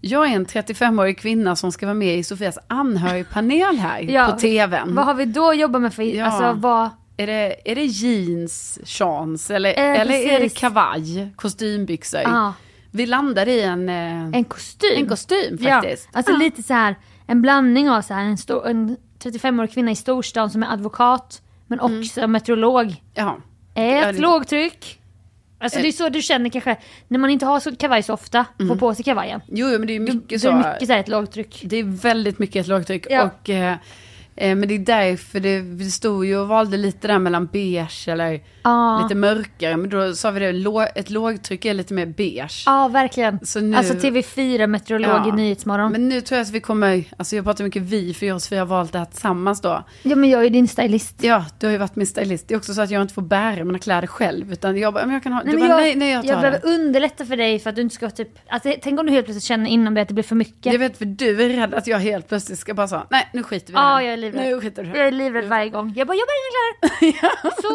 [SPEAKER 1] Jag är en 35-årig kvinna som ska vara med i Sofias anhörigpanel här
[SPEAKER 2] Ja.
[SPEAKER 1] på tvn.
[SPEAKER 2] Vad har vi då att jobba med för...
[SPEAKER 1] Ja.
[SPEAKER 2] Alltså vad...
[SPEAKER 1] Är det, är det jeans, chans eller,
[SPEAKER 2] Eh,
[SPEAKER 1] eller är det
[SPEAKER 2] precis.
[SPEAKER 1] kavaj, kostymbyxor?
[SPEAKER 2] Ja.
[SPEAKER 1] Vi landar i en... eh,
[SPEAKER 2] En kostym.
[SPEAKER 1] En kostym, faktiskt.
[SPEAKER 2] Ja, alltså
[SPEAKER 1] Ja.
[SPEAKER 2] lite så här en blandning av så här en, stor, en 35-årig kvinna i storstan som är advokat men också meteorolog.
[SPEAKER 1] ja. Mm. Ja,
[SPEAKER 2] Ett
[SPEAKER 1] det- Eh.
[SPEAKER 2] lågtryck. Alltså det är så du känner kanske när man inte har så kavaj så ofta, får på sig kavajen.
[SPEAKER 1] Jo, jo, men det är Mm. mycket så.
[SPEAKER 2] Då är det mycket så här ett lågtryck.
[SPEAKER 1] Det är väldigt mycket ett lågtryck.
[SPEAKER 2] Ja.
[SPEAKER 1] Och, eh, eh, men det är därför det, vi stod ju och valde lite där mellan beige eller
[SPEAKER 2] Ja.
[SPEAKER 1] lite mörkare. Men då sa vi det, lå- ett lågtryck är lite mer beige.
[SPEAKER 2] Ja, verkligen.
[SPEAKER 1] Så nu-
[SPEAKER 2] Alltså TV4 meteorolog
[SPEAKER 1] Ja.
[SPEAKER 2] i Nyhetsmorgon.
[SPEAKER 1] Men nu tror jag att vi kommer, alltså jag pratar mycket vi, för jag och Sofia har valt det här tillsammans då.
[SPEAKER 2] ja, men jag är ju din stylist.
[SPEAKER 1] Ja, du har ju varit min stylist. Det är också så att jag inte får bära mina kläder själv, utan jag bara, men jag kan ha, du bara, nej, nej, jag tar det.
[SPEAKER 2] behöver underlätta för dig för att du inte ska typ, alltså, tänk om du helt plötsligt känner inom dig att det blir för mycket.
[SPEAKER 1] Jag vet, för du är rädd att jag helt plötsligt ska bara säga, nej, nu skiter vi i det
[SPEAKER 2] Ja,
[SPEAKER 1] här.
[SPEAKER 2] jag är livrädd.
[SPEAKER 1] Nu skiter vi i det
[SPEAKER 2] Jag
[SPEAKER 1] här.
[SPEAKER 2] är livrädd varje gång. Jag bara, jag bara inga kläder.
[SPEAKER 1] typ.
[SPEAKER 2] Så,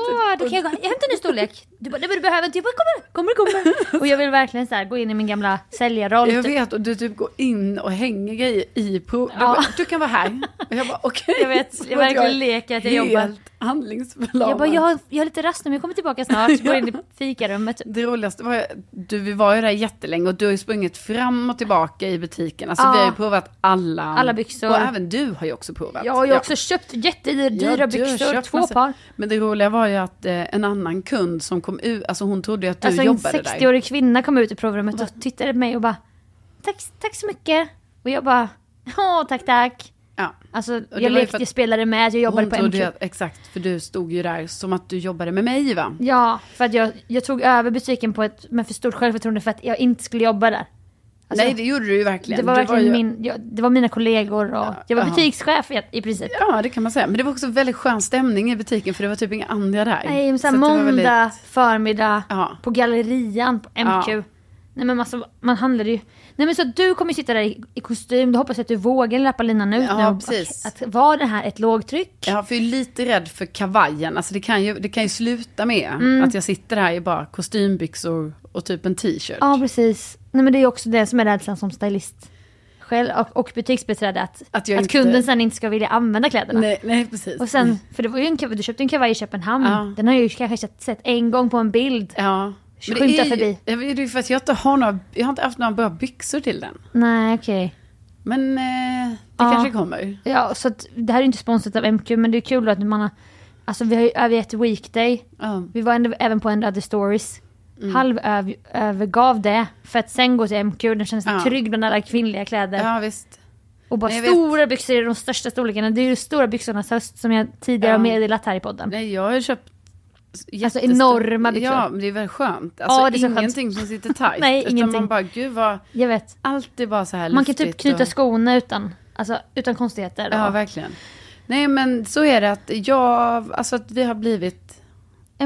[SPEAKER 2] då kan jag gå. Jag hämtar en ny storlek. Du bara, nej men du behöver inte. Jag bara, kommer, kommer, kommer. Och jag vill verkligen så här, gå in i min gamla säljarroll.
[SPEAKER 1] Jag
[SPEAKER 2] typ.
[SPEAKER 1] vet, och du typ går in och hänger grejer i prov. Du,
[SPEAKER 2] Ja.
[SPEAKER 1] bara, du kan vara här. Och jag bara, okej.
[SPEAKER 2] Jag vet,
[SPEAKER 1] Så
[SPEAKER 2] jag
[SPEAKER 1] att
[SPEAKER 2] verkligen
[SPEAKER 1] är
[SPEAKER 2] leker att jag
[SPEAKER 1] helt
[SPEAKER 2] jobbar.
[SPEAKER 1] handlingsförlamad.
[SPEAKER 2] Jag bara, jag har, jag har lite rast nu men jag kommer tillbaka snart. Går in i fikarummet.
[SPEAKER 1] Det roligaste var ju, du, vi var ju där jättelänge och du har ju sprungit fram och tillbaka i butiken. Alltså
[SPEAKER 2] Ja.
[SPEAKER 1] vi har ju provat alla.
[SPEAKER 2] Alla byxor.
[SPEAKER 1] Och även du har ju också provat.
[SPEAKER 2] Jag har ju också köpt jättedyra
[SPEAKER 1] Ja, du har
[SPEAKER 2] byxor,
[SPEAKER 1] köpt
[SPEAKER 2] två
[SPEAKER 1] massa-
[SPEAKER 2] par.
[SPEAKER 1] Men det roliga var ju att eh, en annan kund som kom ut, alltså hon trodde ju att du
[SPEAKER 2] Alltså en
[SPEAKER 1] jobbade där.
[SPEAKER 2] 60-årig kvinna kom ut i provrummet och tittade på mig och bara, tack, tack så mycket. Och jag bara, ja tack tack.
[SPEAKER 1] Ja.
[SPEAKER 2] Alltså
[SPEAKER 1] var ju
[SPEAKER 2] jag lekte,
[SPEAKER 1] för att
[SPEAKER 2] jag spelade med, jag jobbade
[SPEAKER 1] Hon
[SPEAKER 2] på
[SPEAKER 1] trodde ju
[SPEAKER 2] MQ.
[SPEAKER 1] att, exakt, för du stod ju där som att du jobbade med mig va?
[SPEAKER 2] Ja, för att jag, jag tog över butiken på ett, med för stort självförtroende för att jag inte skulle jobba där. Alltså,
[SPEAKER 1] Nej det gjorde du ju verkligen.
[SPEAKER 2] det var
[SPEAKER 1] Du
[SPEAKER 2] verkligen
[SPEAKER 1] ju-
[SPEAKER 2] min, jag, det var mina kollegor och jag var
[SPEAKER 1] jaha.
[SPEAKER 2] butikschef i, i princip.
[SPEAKER 1] Ja, det kan man säga. Men det var också väldigt skön stämning i butiken för det var typ inga andra där.
[SPEAKER 2] Nej, men så här,
[SPEAKER 1] att det var
[SPEAKER 2] måndag
[SPEAKER 1] väldigt-
[SPEAKER 2] förmiddag
[SPEAKER 1] Ja.
[SPEAKER 2] på gallerian på MQ.
[SPEAKER 1] Ja.
[SPEAKER 2] Nej men alltså, man handlade ju. Nej men så att du kommer ju sitta där i, i kostym, då hoppas jag att du vågar löpa linan ut.
[SPEAKER 1] Ja,
[SPEAKER 2] nu.
[SPEAKER 1] precis.
[SPEAKER 2] Okej, att var det här ett lågtryck?
[SPEAKER 1] Ja, för jag är lite rädd för kavajen. Alltså det kan ju, det kan ju sluta med
[SPEAKER 2] Mm.
[SPEAKER 1] att jag sitter här i bara kostymbyxor och typ en t-shirt.
[SPEAKER 2] Ja, precis. Nej men det är ju också det som är rädslan som stylist. Själv och, och butiksbiträde att,
[SPEAKER 1] Att
[SPEAKER 2] att,
[SPEAKER 1] jag inte-
[SPEAKER 2] kunden sen inte ska vilja använda kläderna.
[SPEAKER 1] nej, nej, precis.
[SPEAKER 2] Och sen, för det var ju en, kavaj- du köpte en kavaj i Köpenhamn.
[SPEAKER 1] Ja.
[SPEAKER 2] Den har jag ju kanske sett en gång på en bild.
[SPEAKER 1] ja.
[SPEAKER 2] skymtar
[SPEAKER 1] ju-
[SPEAKER 2] förbi.
[SPEAKER 1] Ja, men Det är ju för att jag inte har några, jag har inte haft några bra byxor till den.
[SPEAKER 2] Nej okej.
[SPEAKER 1] Men eh, det
[SPEAKER 2] Ja.
[SPEAKER 1] kanske kommer.
[SPEAKER 2] Ja så att, det här är ju inte sponsrat av MQ men det är kul att man har, alltså vi har ju övergett Weekday.
[SPEAKER 1] Ja. Mm.
[SPEAKER 2] Vi var ändå, även på en Other Stories. Halv öv, övergav det för att sen gå till MQ. Den kändes
[SPEAKER 1] Ja.
[SPEAKER 2] trygg bland alla kvinnliga kläder.
[SPEAKER 1] ja, visst.
[SPEAKER 2] Och bara
[SPEAKER 1] Nej, jag vet.
[SPEAKER 2] stora byxor i de största storlekarna. Det är ju stora byxornas höst som jag tidigare
[SPEAKER 1] Ja.
[SPEAKER 2] har meddelat här i podden.
[SPEAKER 1] Nej, jag har ju köpt jättestor-
[SPEAKER 2] Alltså, enorma byxor.
[SPEAKER 1] Ja, men det är väl skönt. Alltså
[SPEAKER 2] Ja, det är så skönt.
[SPEAKER 1] ingenting som sitter tajt.
[SPEAKER 2] Nej,
[SPEAKER 1] Utan man
[SPEAKER 2] ingenting.
[SPEAKER 1] bara, gud vad,
[SPEAKER 2] Jag vet.
[SPEAKER 1] allt är bara så här
[SPEAKER 2] Man kan typ
[SPEAKER 1] luftigt
[SPEAKER 2] knyta
[SPEAKER 1] och-
[SPEAKER 2] skorna utan, alltså, utan konstigheter.
[SPEAKER 1] Ja,
[SPEAKER 2] Och-
[SPEAKER 1] verkligen. Nej, men så är det att jag, alltså att vi har blivit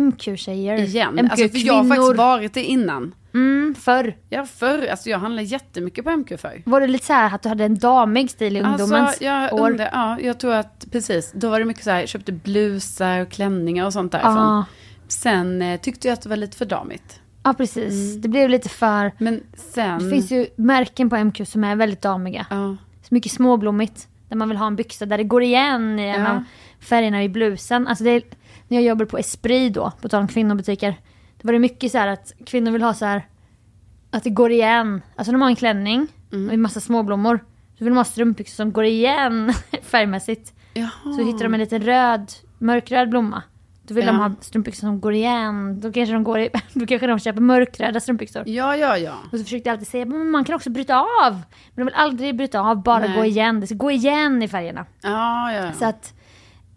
[SPEAKER 2] MQ-tjejer.
[SPEAKER 1] igen.
[SPEAKER 2] MQ-kvinnor.
[SPEAKER 1] Alltså, för jag har faktiskt varit det innan.
[SPEAKER 2] mm, förr.
[SPEAKER 1] Ja, förr, alltså jag handlade jättemycket på MQ förr.
[SPEAKER 2] Var det lite så här att du hade en damig stil i ungdomens
[SPEAKER 1] Alltså, jag,
[SPEAKER 2] år?
[SPEAKER 1] undrar, ja, jag tror att, precis, då var det mycket så här, jag köpte blusar och klänningar och sånt därifrån.
[SPEAKER 2] Ja,
[SPEAKER 1] Sen eh, tyckte jag att det var lite för damigt.
[SPEAKER 2] ja, precis. Det blev lite för...
[SPEAKER 1] Men sen...
[SPEAKER 2] Det finns ju märken på MQ som är väldigt damiga.
[SPEAKER 1] Ja,
[SPEAKER 2] Så mycket småblommigt. Där man vill ha en byxa där det går igen i en
[SPEAKER 1] Ja.
[SPEAKER 2] av färgerna i blusen. Alltså det är, när jag jobbade på Esprit då, på tal om kvinnobutiker. Då var det mycket så här att kvinnor vill ha så här att det går igen. Alltså de har en klänning med massa småblommor. Så vill de ha strumpbyxor som går igen färgmässigt.
[SPEAKER 1] Jaha.
[SPEAKER 2] Så hittar de en liten röd, mörkröd blomma. Då vill de
[SPEAKER 1] Ah. Ja.
[SPEAKER 2] ha strumpbyxor som går igen. Då kanske de, går i, då kanske de köper mörkröda strumpbyxor.
[SPEAKER 1] ja, ja. ja.
[SPEAKER 2] Och så försökte jag alltid säga men man kan också bryta av. Men de vill aldrig bryta av, bara
[SPEAKER 1] Nej.
[SPEAKER 2] gå igen. Det ska gå igen i färgerna.
[SPEAKER 1] Ja, ja, ja.
[SPEAKER 2] Så att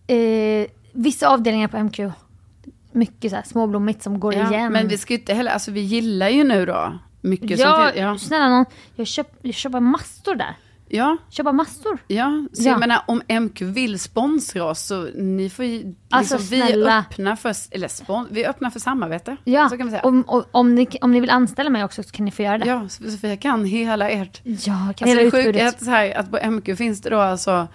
[SPEAKER 2] eh, vissa avdelningar på MQ, mycket så här småblommigt som går
[SPEAKER 1] ja.
[SPEAKER 2] igen.
[SPEAKER 1] Men vi ska ju inte heller, alltså vi gillar ju nu då mycket som
[SPEAKER 2] ja,
[SPEAKER 1] fin- ja.
[SPEAKER 2] snälla någon, jag köper jag köper massor där.
[SPEAKER 1] ja,
[SPEAKER 2] Köpa massor.
[SPEAKER 1] Ja, så
[SPEAKER 2] Ja.
[SPEAKER 1] jag menar om MQ vill sponsra oss så ni får ju,
[SPEAKER 2] Alltså,
[SPEAKER 1] liksom, vi
[SPEAKER 2] snälla.
[SPEAKER 1] är öppna för, eller spon, vi är öppna för samarbete.
[SPEAKER 2] Ja,
[SPEAKER 1] Så kan man säga.
[SPEAKER 2] om, om, om, ni, om ni vill anställa mig också så kan ni få göra det.
[SPEAKER 1] Ja, Sofia kan hela ert,
[SPEAKER 2] Ja, kan
[SPEAKER 1] alltså
[SPEAKER 2] hela
[SPEAKER 1] det sjuka är
[SPEAKER 2] utbudet.
[SPEAKER 1] att, så här, att på MQ finns det då alltså,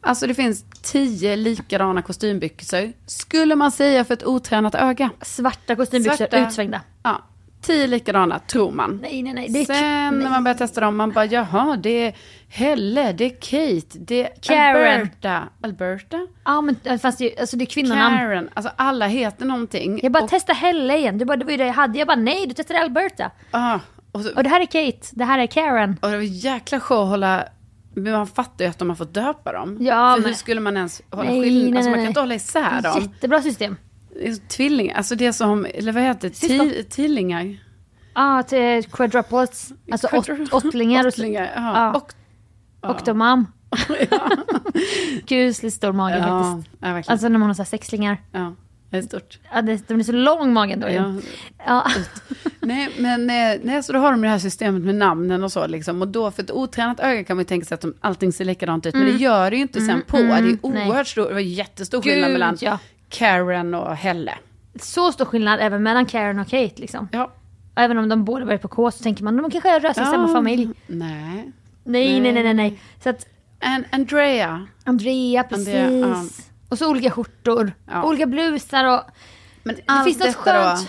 [SPEAKER 1] alltså det finns tio likadana kostymbyxor, skulle man säga för ett otränat öga.
[SPEAKER 2] Svarta kostymbyxor,
[SPEAKER 1] Svarta.
[SPEAKER 2] utsvängda.
[SPEAKER 1] Ja, Tio likadana, tror man.
[SPEAKER 2] Nej, nej, nej. Det är
[SPEAKER 1] Sen när man börjar testa dem, man bara jaha, det är Helle, det är Kate, det är
[SPEAKER 2] Karen.
[SPEAKER 1] Alberta. Alberta?
[SPEAKER 2] Ja, men eh, fast det, alltså, det är kvinnonamn.
[SPEAKER 1] Karen. Alltså alla heter någonting.
[SPEAKER 2] Jag bara,
[SPEAKER 1] och,
[SPEAKER 2] testa Helle igen. Du bara, det var ju det jag hade. Jag bara, nej, du testade Alberta.
[SPEAKER 1] ah, och, så,
[SPEAKER 2] Och det här är Kate, det här är Karen.
[SPEAKER 1] och det var jäkla show att hålla... Men man fattar ju att de har fått döpa dem.
[SPEAKER 2] Ja,
[SPEAKER 1] För
[SPEAKER 2] men-
[SPEAKER 1] hur skulle man ens hålla
[SPEAKER 2] Nej,
[SPEAKER 1] skillnad?
[SPEAKER 2] nej,
[SPEAKER 1] Alltså man
[SPEAKER 2] nej,
[SPEAKER 1] kan
[SPEAKER 2] nej.
[SPEAKER 1] inte hålla isär dem.
[SPEAKER 2] Jättebra system.
[SPEAKER 1] Det är så Tvillingar, alltså det som, eller vad heter det?
[SPEAKER 2] Syskon.
[SPEAKER 1] Ti- Tillingar?
[SPEAKER 2] Ja, till quadruplets. Alltså åt, åttlingar och,
[SPEAKER 1] Åttlingar, ja.
[SPEAKER 2] Ja.
[SPEAKER 1] Och,
[SPEAKER 2] Octomam. Kusligt stor mage
[SPEAKER 1] ja,
[SPEAKER 2] faktiskt.
[SPEAKER 1] ja, verkligen.
[SPEAKER 2] Alltså när man har så här sexlingar.
[SPEAKER 1] ja, det är stort.
[SPEAKER 2] Ja, det, den är så lång magen då ju.
[SPEAKER 1] Ja.
[SPEAKER 2] Ja.
[SPEAKER 1] Nej, men eh, nej, så då har de det här systemet med namnen och så. Liksom. Och då, för ett otränat öga kan man ju tänka sig att de, allting ser likadant ut. Men det gör det ju inte sen på. det är
[SPEAKER 2] Mm. nej.
[SPEAKER 1] oerhört stor, det var jättestor
[SPEAKER 2] Gud,
[SPEAKER 1] skillnad mellan
[SPEAKER 2] ja.
[SPEAKER 1] Karen och Helle.
[SPEAKER 2] Så stor skillnad även mellan Karen och Kate liksom.
[SPEAKER 1] Ja.
[SPEAKER 2] Även om de båda börjar på K så tänker man de kanske har röstat i samma
[SPEAKER 1] Ja.
[SPEAKER 2] familj.
[SPEAKER 1] Nej.
[SPEAKER 2] Nej, nej, nej, nej, nej. Så att
[SPEAKER 1] And, Andrea.
[SPEAKER 2] Andrea, precis.
[SPEAKER 1] Andrea, ja.
[SPEAKER 2] Och så olika skjortor.
[SPEAKER 1] Ja.
[SPEAKER 2] Olika blusar och...
[SPEAKER 1] Men
[SPEAKER 2] Det
[SPEAKER 1] allt
[SPEAKER 2] finns något
[SPEAKER 1] detta
[SPEAKER 2] skönt.
[SPEAKER 1] Då,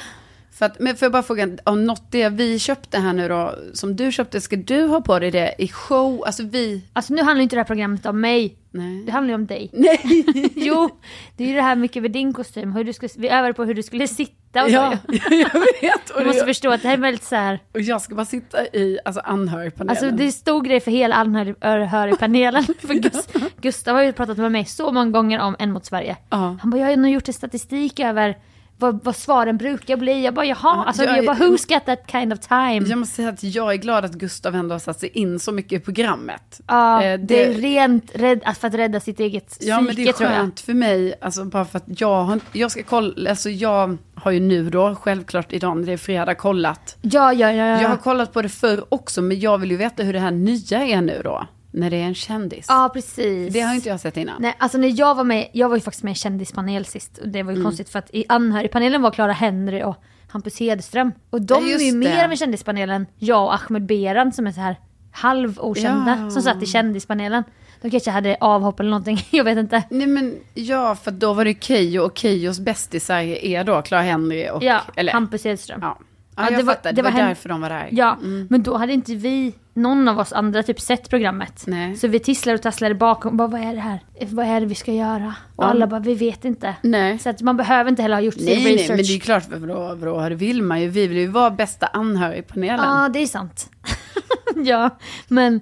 [SPEAKER 1] för att, men får jag bara fråga, om något det vi köpte här nu då, som du köpte, ska du ha på dig det i show? Alltså vi...
[SPEAKER 2] Alltså nu handlar ju inte det här programmet om mig.
[SPEAKER 1] Nej.
[SPEAKER 2] Det handlar ju om dig. Nej! jo, det är ju det här mycket med din kostym. Hur du skulle, vi övade på hur du skulle sitta och
[SPEAKER 1] Ja,
[SPEAKER 2] så.
[SPEAKER 1] jag vet. Och,
[SPEAKER 2] Du måste
[SPEAKER 1] det,
[SPEAKER 2] förstå att det här är väldigt så här...
[SPEAKER 1] och jag ska bara sitta i alltså, anhörigpanelen.
[SPEAKER 2] Alltså det är stor grej för hela anhörigpanelen. för Gus, Gustav har ju pratat med mig så många gånger om En mot Sverige.
[SPEAKER 1] Ja.
[SPEAKER 2] Han bara, jag har nog gjort en statistik över vad, vad svaren brukar bli. Jag bara, jaha. alltså,
[SPEAKER 1] jag-
[SPEAKER 2] jag, bara, who's got that kind of time?
[SPEAKER 1] Jag måste säga att jag är glad att Gustav ändå har satt sig in så mycket i programmet.
[SPEAKER 2] Ja,
[SPEAKER 1] Eh,
[SPEAKER 2] det, är rent rädd, alltså för att rädda sitt eget
[SPEAKER 1] Ja,
[SPEAKER 2] psyke
[SPEAKER 1] men det är
[SPEAKER 2] tror jag.
[SPEAKER 1] skönt för mig, alltså bara för att jag har, jag ska kolla, alltså jag har ju nu då, självklart idag när det är fredag, kollat.
[SPEAKER 2] Ja, ja, ja. ja.
[SPEAKER 1] Jag har kollat på det förr också, men jag vill ju veta hur det här nya är nu då, när det är en kändis.
[SPEAKER 2] ja, precis.
[SPEAKER 1] Det har ju inte jag sett innan.
[SPEAKER 2] Nej, alltså när jag var med, jag var ju faktiskt med i kändispanel sist. Och det var ju
[SPEAKER 1] Mm.
[SPEAKER 2] konstigt för att i anhörigpanelen var Clara Henry och Hampus Hedström. Och de
[SPEAKER 1] Ja, just
[SPEAKER 2] är ju
[SPEAKER 1] det.
[SPEAKER 2] mer av en kändispanel än jag och Ahmed Beran som är så här halvokända
[SPEAKER 1] Ja.
[SPEAKER 2] som satt i kändispanelen. De kanske hade avhopp eller någonting, jag vet inte.
[SPEAKER 1] Nej men ja, för då var det Keyyo och Keyyos bästisar är då Clara Henry och...
[SPEAKER 2] Ja,
[SPEAKER 1] eller,
[SPEAKER 2] Hampus Hedström.
[SPEAKER 1] ja. Mm. ja,
[SPEAKER 2] Ja,
[SPEAKER 1] jag
[SPEAKER 2] det var-
[SPEAKER 1] fattar. Det,
[SPEAKER 2] det
[SPEAKER 1] var,
[SPEAKER 2] var hen-
[SPEAKER 1] därför de var där.
[SPEAKER 2] Ja, men då hade inte vi, någon av oss andra, typ sett programmet.
[SPEAKER 1] Nej.
[SPEAKER 2] Så vi tisslade och tasslade bakom, bara vad är det här? Vad är det vi ska göra? Och alla bara, vi vet inte.
[SPEAKER 1] Nej.
[SPEAKER 2] Så att man behöver inte heller ha gjort sin
[SPEAKER 1] Nej, nej,
[SPEAKER 2] research.
[SPEAKER 1] men det är ju klart, vadå, vadå, det vill man ju. Vi vill ju vara bästa anhörigpanelen.
[SPEAKER 2] Ja, det är sant. ja, men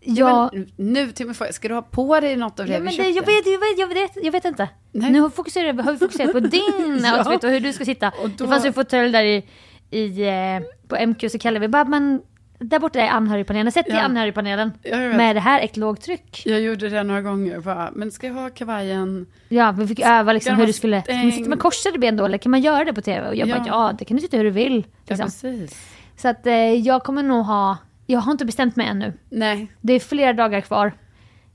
[SPEAKER 2] jag...
[SPEAKER 1] Men nu till min fråga, ska du ha på dig något av det
[SPEAKER 2] Ja,
[SPEAKER 1] vi
[SPEAKER 2] men
[SPEAKER 1] köpte?
[SPEAKER 2] det, jag, vet, jag, vet, jag, vet, jag vet inte.
[SPEAKER 1] Nej.
[SPEAKER 2] Nu har vi fokuserat, har vi fokuserat på din
[SPEAKER 1] Ja.
[SPEAKER 2] outfit och hur du ska sitta.
[SPEAKER 1] Och då-
[SPEAKER 2] Det fanns ju en fåtölj där i, i, eh, på MQ så kallade vi bara, men där borta är anhörigpanelen. Sätt dig i
[SPEAKER 1] Ja.
[SPEAKER 2] anhörigpanelen
[SPEAKER 1] Ja, jag vet.
[SPEAKER 2] med det här ett lågt tryck.
[SPEAKER 1] Jag gjorde det några gånger bara, men ska jag ha kavajen?
[SPEAKER 2] Ja, vi fick öva liksom
[SPEAKER 1] Gammal
[SPEAKER 2] hur du skulle... Ska man sitta
[SPEAKER 1] stäng.
[SPEAKER 2] med korsade ben då eller kan man göra det på TV? Och jag
[SPEAKER 1] Ja.
[SPEAKER 2] bara ja, det kan du sitta hur du vill.
[SPEAKER 1] Ja,
[SPEAKER 2] Liksom.
[SPEAKER 1] precis.
[SPEAKER 2] Så att eh, jag kommer nog ha... Jag har inte bestämt mig ännu.
[SPEAKER 1] Nej.
[SPEAKER 2] Det är flera dagar kvar.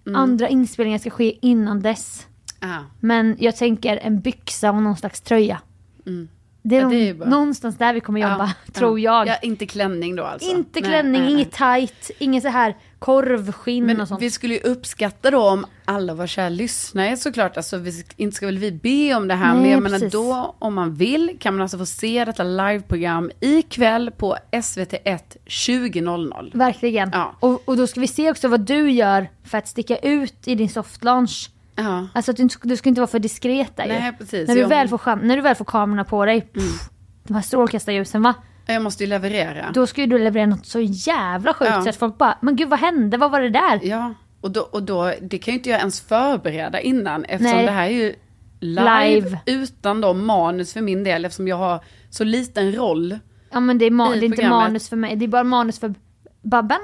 [SPEAKER 1] Mm.
[SPEAKER 2] Andra inspelningar ska ske innan dess.
[SPEAKER 1] Ah.
[SPEAKER 2] Men jag tänker en byxa och någon slags tröja. Det är,
[SPEAKER 1] Mm. Ja, det är ju
[SPEAKER 2] nog-
[SPEAKER 1] bara-
[SPEAKER 2] någonstans där vi kommer jobba,
[SPEAKER 1] Ja,
[SPEAKER 2] tror
[SPEAKER 1] ja.
[SPEAKER 2] jag.
[SPEAKER 1] Ja, inte klänning då alltså.
[SPEAKER 2] Inte
[SPEAKER 1] Nej,
[SPEAKER 2] klänning,
[SPEAKER 1] nej, nej.
[SPEAKER 2] inget tight, inget så här korvskinn och
[SPEAKER 1] Men
[SPEAKER 2] sånt.
[SPEAKER 1] vi skulle ju uppskatta då om alla var kära lyssnare såklart. Alltså vi, sk- inte ska väl vi be om det här. men
[SPEAKER 2] Nej,
[SPEAKER 1] jag menar
[SPEAKER 2] precis.
[SPEAKER 1] då om man vill kan man alltså få se detta liveprogram ikväll på SVT1 20.00.
[SPEAKER 2] Verkligen.
[SPEAKER 1] Ja.
[SPEAKER 2] Och, och då ska vi se också vad du gör för att sticka ut i din soft launch.
[SPEAKER 1] Ja.
[SPEAKER 2] Alltså att du, inte, du ska inte vara för diskret där ju.
[SPEAKER 1] Nej, precis.
[SPEAKER 2] När du,
[SPEAKER 1] Ja, men- Mm.
[SPEAKER 2] väl får, cham- när du väl får kamerorna på dig, pff, de här strålkastarljusen va?
[SPEAKER 1] Jag måste ju leverera.
[SPEAKER 2] Då ska ju du leverera något så jävla sjukt
[SPEAKER 1] Ja.
[SPEAKER 2] så att folk bara, men gud vad hände, vad var det där?
[SPEAKER 1] Ja, och då, och då, det kan ju inte jag ens förbereda innan eftersom
[SPEAKER 2] Nej.
[SPEAKER 1] det här är ju live,
[SPEAKER 2] Live.
[SPEAKER 1] utan då manus för min del eftersom jag har så liten roll.
[SPEAKER 2] Ja men det är, ma-
[SPEAKER 1] I
[SPEAKER 2] det är inte
[SPEAKER 1] programmet.
[SPEAKER 2] manus för mig, det är bara manus för Babben?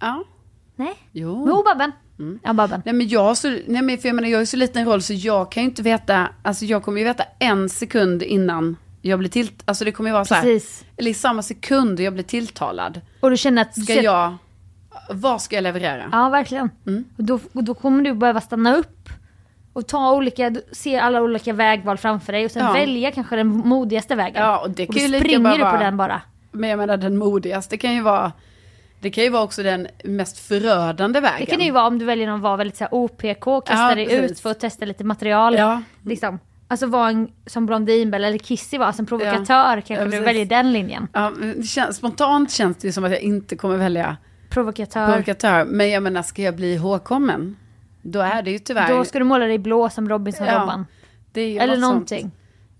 [SPEAKER 1] Ja,
[SPEAKER 2] Nej?
[SPEAKER 1] jo. Mm.
[SPEAKER 2] Jo Babben. Ja Babben.
[SPEAKER 1] Nej men jag har så, nej men för jag menar jag har ju så liten roll så jag kan ju inte veta, alltså jag kommer ju veta en sekund innan jag blir tilt, alltså det kommer ju vara så här,
[SPEAKER 2] Precis.
[SPEAKER 1] eller i samma sekund jag blir tilltalad,
[SPEAKER 2] Och du känner att...
[SPEAKER 1] ska jag, Mm. vad ska jag leverera?
[SPEAKER 2] Ja, verkligen. Och, då, och då kommer du behöva stanna upp och ta olika, se alla olika vägval framför dig och sen
[SPEAKER 1] Ja.
[SPEAKER 2] välja kanske den modigaste vägen.
[SPEAKER 1] Ja, och det kan
[SPEAKER 2] och då
[SPEAKER 1] ju lika
[SPEAKER 2] springer
[SPEAKER 1] bara
[SPEAKER 2] du på
[SPEAKER 1] vara-
[SPEAKER 2] den bara.
[SPEAKER 1] Men jag menar den modigaste kan ju vara, det kan ju vara också den mest förödande vägen.
[SPEAKER 2] Det kan det ju vara om du väljer någon att vara väldigt så här OPK, kasta
[SPEAKER 1] Ja,
[SPEAKER 2] dig
[SPEAKER 1] precis.
[SPEAKER 2] ut för att testa lite material.
[SPEAKER 1] Ja.
[SPEAKER 2] Liksom. Alltså vara en som Blondin eller Kissy var, alltså en provokatör kanske
[SPEAKER 1] Ja,
[SPEAKER 2] du
[SPEAKER 1] precis.
[SPEAKER 2] väljer den linjen.
[SPEAKER 1] Ja, men det känns, spontant känns det ju som att jag inte kommer välja
[SPEAKER 2] Provokatör.
[SPEAKER 1] provokatör. Men jag menar, ska jag bli ihågkommen? Då är det ju tyvärr...
[SPEAKER 2] Då ska du måla dig blå som Robinson-Robban.
[SPEAKER 1] det är ju
[SPEAKER 2] eller
[SPEAKER 1] något sånt.
[SPEAKER 2] någonting.